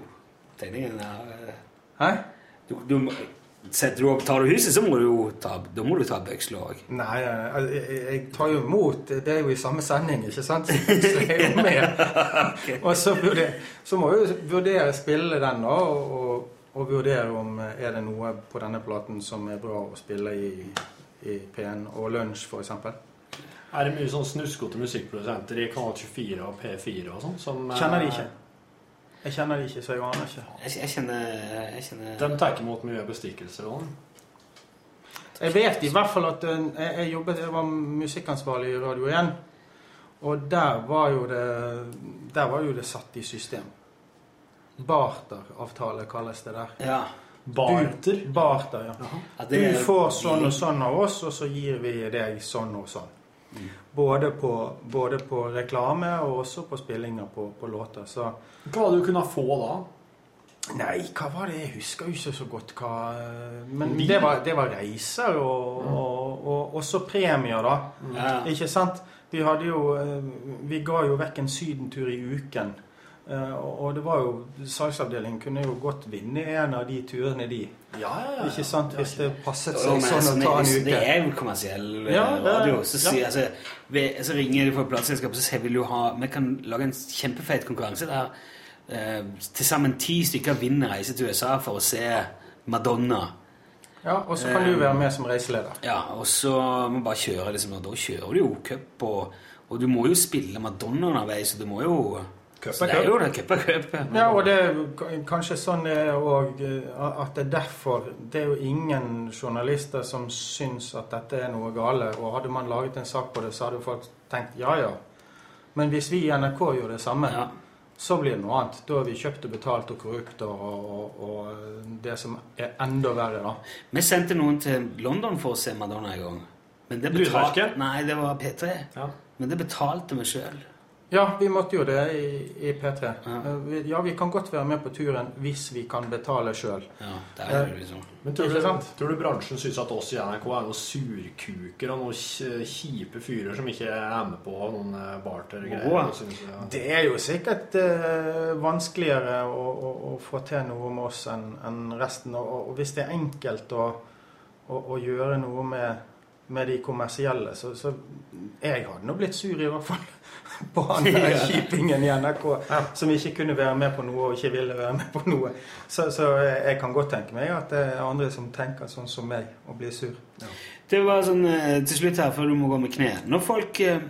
A: tegningen her.
K: Hæ?
A: Du, du, må- setter du opp, tar du huset, så må du jo ta, da må du ta bøksla òg.
K: Nei, eh, jeg, jeg, jeg tar jo imot. Det er jo i samme sending, ikke sant? Så jeg er jo med. Og så, vurder, så må jeg jo vurdere spille den, da. Og, og, og vurdere om eh, er det noe på denne platen som er bra å spille i, i P1 og Lunsj, f.eks.
B: Er det mye sånn snuskete musikkprodusenter i Kanal 24 og P4 og sånn? som, eh,
K: Kjenner de ikke. Jeg kjenner de ikke, så jeg aner ikke.
A: Jeg, jeg kjenner, jeg kjenner
B: eh, De tar ikke imot mye bestikkelser og sånn?
K: Jeg vet i hvert fall at eh, jeg, jeg jobbet, jeg var musikkansvarlig i Radio 1. Og der var jo det, der var jo det satt i system. Barteravtale kalles det der.
A: Ja.
K: Barter? Du, barter, ja.
A: Ja, det er-
K: Du får sånn og sånn av oss, og så gir vi deg sånn og sånn. Både på, både på reklame og også på spillinger på, på låter. Så
B: Hva var det du kunne få da?
K: Nei, hva var det? Jeg husker jo ikke så godt hva eh, Men det var, det var reiser og,
B: Mm.
K: og, og også premier, da.
A: Ja.
K: Ikke sant? Vi hadde jo eh, Vi ga jo vekk en sydentur i uken. Eh, Og og det var jo Salgsavdelingen kunne jo godt vinne en av de turene, de.
A: ja, ja.
K: Ikke sant? Hvis det passet
A: Jo,
K: seg
A: men
K: sånn å
A: altså,
K: ta en
A: hvis
K: uke.
A: Det er jo kommersiell eh,
K: Ja, det er-
A: radio. Så, sier-
K: ja.
A: altså, vi, så ringer de fra plateselskapet og sier vi vil jo ha Vi kan lage en kjempefeit konkurranse der eh, til sammen ti stykker vinner reise til USA for å se Madonna.
K: Ja, og så kan du
A: Eh,
K: være med som reiseleder.
A: Ja, og så må man bare kjøre, liksom. Og da kjører du jo cup, og, og du må jo spille Madonna underveis, så du må jo
K: Cup
A: så
K: er
A: det er
K: cup.
A: jo det, cup er cup.
K: Ja, og det er k- kanskje sånn det er òg At det er derfor Det er jo ingen journalister som syns at dette er noe gale. Og hadde man laget en sak på det, så hadde jo folk tenkt ja, ja. Men hvis vi i NRK gjorde det samme, så blir det noe annet. Da er vi kjøpt og betalt og korrupt og, og, og det som er enda verre, da.
A: Vi sendte noen til London for å se Madonna en gang. Men det betalte
K: Lydverket?
A: Nei, det var P3. Men det betalte vi sjøl.
K: Ja, vi måtte jo det i, i P3. Eh, vi- Ja, vi kan godt være med på turen hvis vi kan betale sjøl.
A: det er jo liksom-
B: Men tror du,
K: Ikke sant?
B: tror du bransjen syns at oss i NRK er noen surkuker og noen kj- kjipe fyrer som ikke er med på noen eh, bartergreier?
K: Åh.
B: og synes, ja.
K: Det er jo sikkert eh, vanskeligere å, å, å få til noe med oss enn enn resten. Og, og hvis det er enkelt å, å, å gjøre noe med, med de kommersielle, så, så Jeg hadde nå blitt sur i hvert fall på han der kjipingen i NRK som ikke kunne være med på noe og ikke ville være med på noe. Så, så jeg jeg kan godt tenke meg at det er andre som tenker sånn som meg og blir sur.
A: Det var sånn eh, til slutt her, før du må gå med kne. Når folk eh,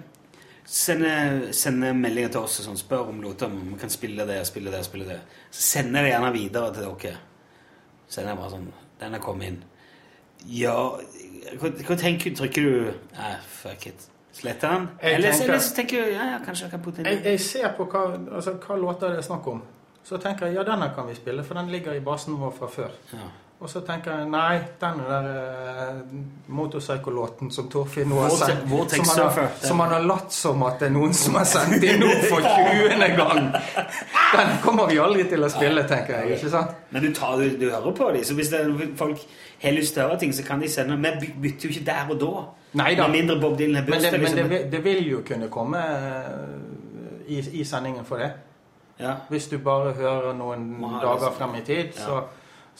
A: sender, sender meldinger til oss og sånn, spør om låter, om vi kan spille det, spille det, spille det, så sender jeg det gjerne videre til dere. Så Sender jeg bare sånn Den er kommet inn. Ja Hva, hva tenker du? Trykker du Nei, fuck it. Sletter den?
K: Jeg
A: Eller
K: tenker-
A: eller så tenker du Ja, ja, kanskje jeg kan putte den
K: Jeg,
A: inn.
K: jeg ser på hva, altså, hva låter det er snakk om. Så tenker jeg ja, denne kan vi spille, for den ligger i basen vår fra før.
A: Ja.
K: Og så tenker jeg nei, den der eh, motorpsykolåten som Torfinn nå har
A: Vortex-
K: sendt
A: Vortex
K: som, han har,
A: Surfer.
K: som han har latt som at det er noen som har sendt inn nå for 20. gang! Den kommer vi aldri til å spille, tenker jeg. ikke sant?
A: Men du, tar, du, du hører på dem. Så hvis det, er folk har lyst til å høre ting, så kan de sende Men vi bytter jo ikke der og da.
K: Neida.
A: Med mindre Bob Dylan har
K: Men,
A: bursdag.
K: det, men det,
A: liksom.
K: vil- det vil jo kunne komme eh, i, i sendingen for det. Hvis du bare hører noen
A: Må ha det
K: dager
A: sånn.
K: frem i tid.
A: Ja.
K: Så,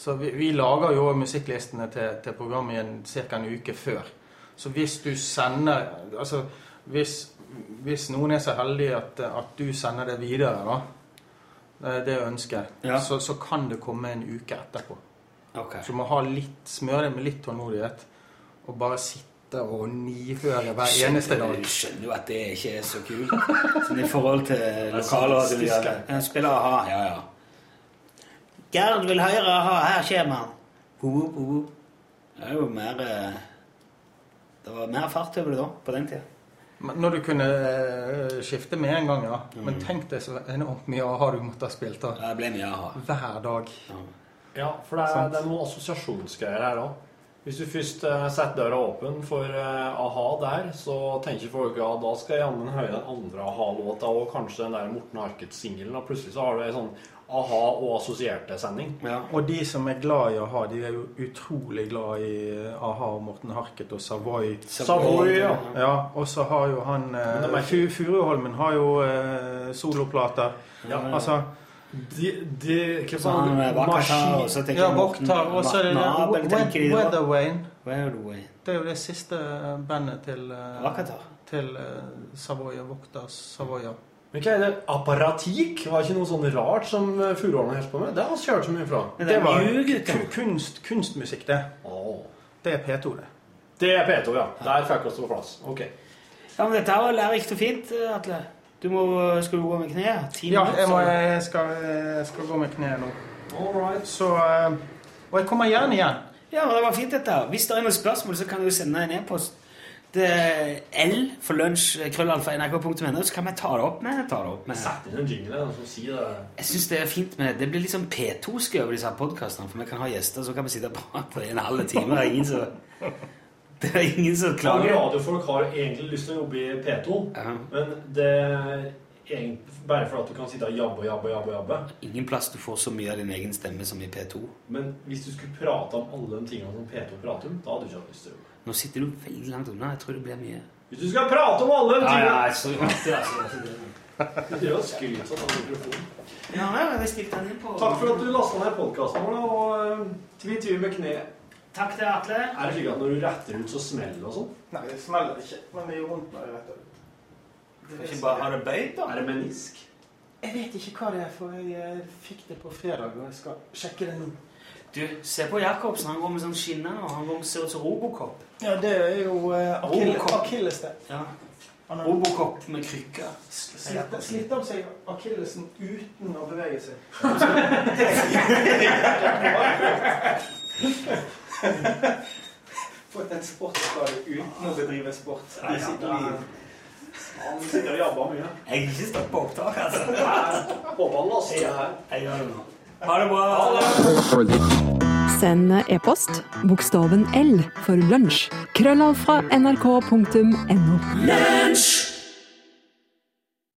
K: så vi, vi lager jo musikklistene til, til programmet i en, cirka en uke før. Så hvis du sender Altså hvis, hvis noen er så heldig at, at du sender det videre, da, eh, det ønsket,
A: Ja.
K: så, så kan det komme en uke etterpå.
A: Ok.
K: Så du må ha litt, smøre det med litt tålmodighet. Og bare sitte og nihøre hver
A: Skjønner-
K: eneste dag.
A: Du skjønner jo at det ikke er så kult. Sånn i forhold til lokalradio.
K: Det er
A: Ja,
K: sadistisk.
A: ja, spiller aha, ja, ja. Gerd vil høre aha, her kommer han. Ho, ho, ho, ho. Det er jo mer eh, Det var mer fart over det da, på den tida.
K: Men Når du kunne eh, skifte med en gang, ja. Men tenk deg så enormt mye aha du måtte ha spilt da.
A: Det ble mye aha.
K: Hver dag.
B: ja, for det er,
K: Sant.
B: det er noen assosiasjonsgreier her òg. Hvis du først eh, setter døra åpen for eh, a-ha der, så tenker folk ja, da skal jeg jammen høre den andre a-ha-låta og kanskje den der Morten Harket-singelen. Og plutselig så har du ei sånn a-ha og assosierte-sending.
K: Og de som er glad i a-ha, de er jo utrolig glad i eh, a-ha og Morten Harket og Savoy.
B: Savoy, ja.
K: ja. Og så har jo han
B: Men de
K: eh,
B: er
K: Fu- Furuholmen har jo eh, soloplater.
B: Ja, ja, ja.
K: Altså
B: De, de, hva
A: Så han
B: faen,
A: er vakker her, og så tenker
K: Sånn Ja,
A: jeg Morten-
K: Voktar. Og så er det
A: Morten Abel, tenker de
K: det
A: da.
K: Weatherwane.
A: Weatherwane.
K: Det er jo det siste eh, bandet til eh,
A: Vakkert, da.
K: Til eh, Savoy og Voktar Savoy. ja.
B: Men hva er det? Apparatik? Var ikke noe sånn rart som eh, Furuholmen holdt på med? Det har vi kjørt så mye fra.
K: Det var ku- kunst, kunstmusikk, det.
B: Åh.
K: Det er P2, det.
B: Det er P2, ja. Der fikk vi oss på plass. Ok.
A: Ja, men dette her var lærerikt og fint, Atle. Du må, skal du gå med kneet? Ti
K: Ja,
A: minutter,
K: jeg, må,
A: sa du.
K: jeg, skal, jeg skal gå med kneet nå. Så, eh, og jeg kommer gjerne igjen.
A: Ja, men det var fint dette. her. Hvis det er noen spørsmål, så kan du sende en e-post. Det er L for lunsj, eh, krøllalfa, nrk.no, så kan vi ta det opp med. Ta det opp med.
B: Sett inn en jingle og så si det.
A: Jeg synes det er fint med Det blir litt sånn P2-ske over disse her podcastene, for vi kan ha gjester, så kan vi sitte og prate i en halv time. Det er ingen som, det er ingen som
B: Mange
A: klager.
B: radiofolk har egentlig lyst til å jobbe i P2, men det er egentlig bare for at du kan sitte og jabbe og jabbe og jabbe. og jabbe.
A: Ingen plass du får så mye av din egen stemme som i P2.
B: Men hvis du skulle prate om alle de tingene som P2 prater om, da hadde du ikke hatt lyst til å jobbe.
A: Nå sitter du veldig langt unna. Jeg tror det blir mye
B: Hvis du skal prate om alle de
A: Ja,
B: tingene
A: ja, jeg så godt det, jeg så godt
B: Du driver og skryter sånn av mikrofonen.
A: Ja, ja, jeg stilte den inn på
B: Takk for at du lasta ned podkasten vår, da, og eh, tvi tvi med kne.
A: Takk til Atle.
B: Er det slik at når du retter ut, så smeller det og sånn?
K: Nei, det smeller ikke, men det gjør vondt når jeg retter ut.
B: Kan ikke bare ha det beit, da? Er det menisk?
K: Jeg vet ikke hva det er, for jeg eh, fikk det på fredag, og jeg skal sjekke det nå.
A: Du, se på Jacobsen. Han går med sånn skinner, og han går med ser ut som Robocop.
K: Ja, det er jo eh, akille-
A: Robocop.
K: akillesen.
A: Ja.
K: Han er-
A: Robocop med krykker.
K: Sliter, sliter av seg akillesen uten å bevege seg. Fått en sportsskade uten å bedrive sport.
B: Nei,
K: De sitter
B: ja,
K: i-
B: Han sitter og jabber mye.
A: Jeg er ikke stoppe på opptak, altså.
B: Håper han laster det her.
A: Jeg gjør det nå. Ha det bra.
H: Send e-post bokstaven L for lunsj. Krøllalfra nrk.no.
A: Lunsj!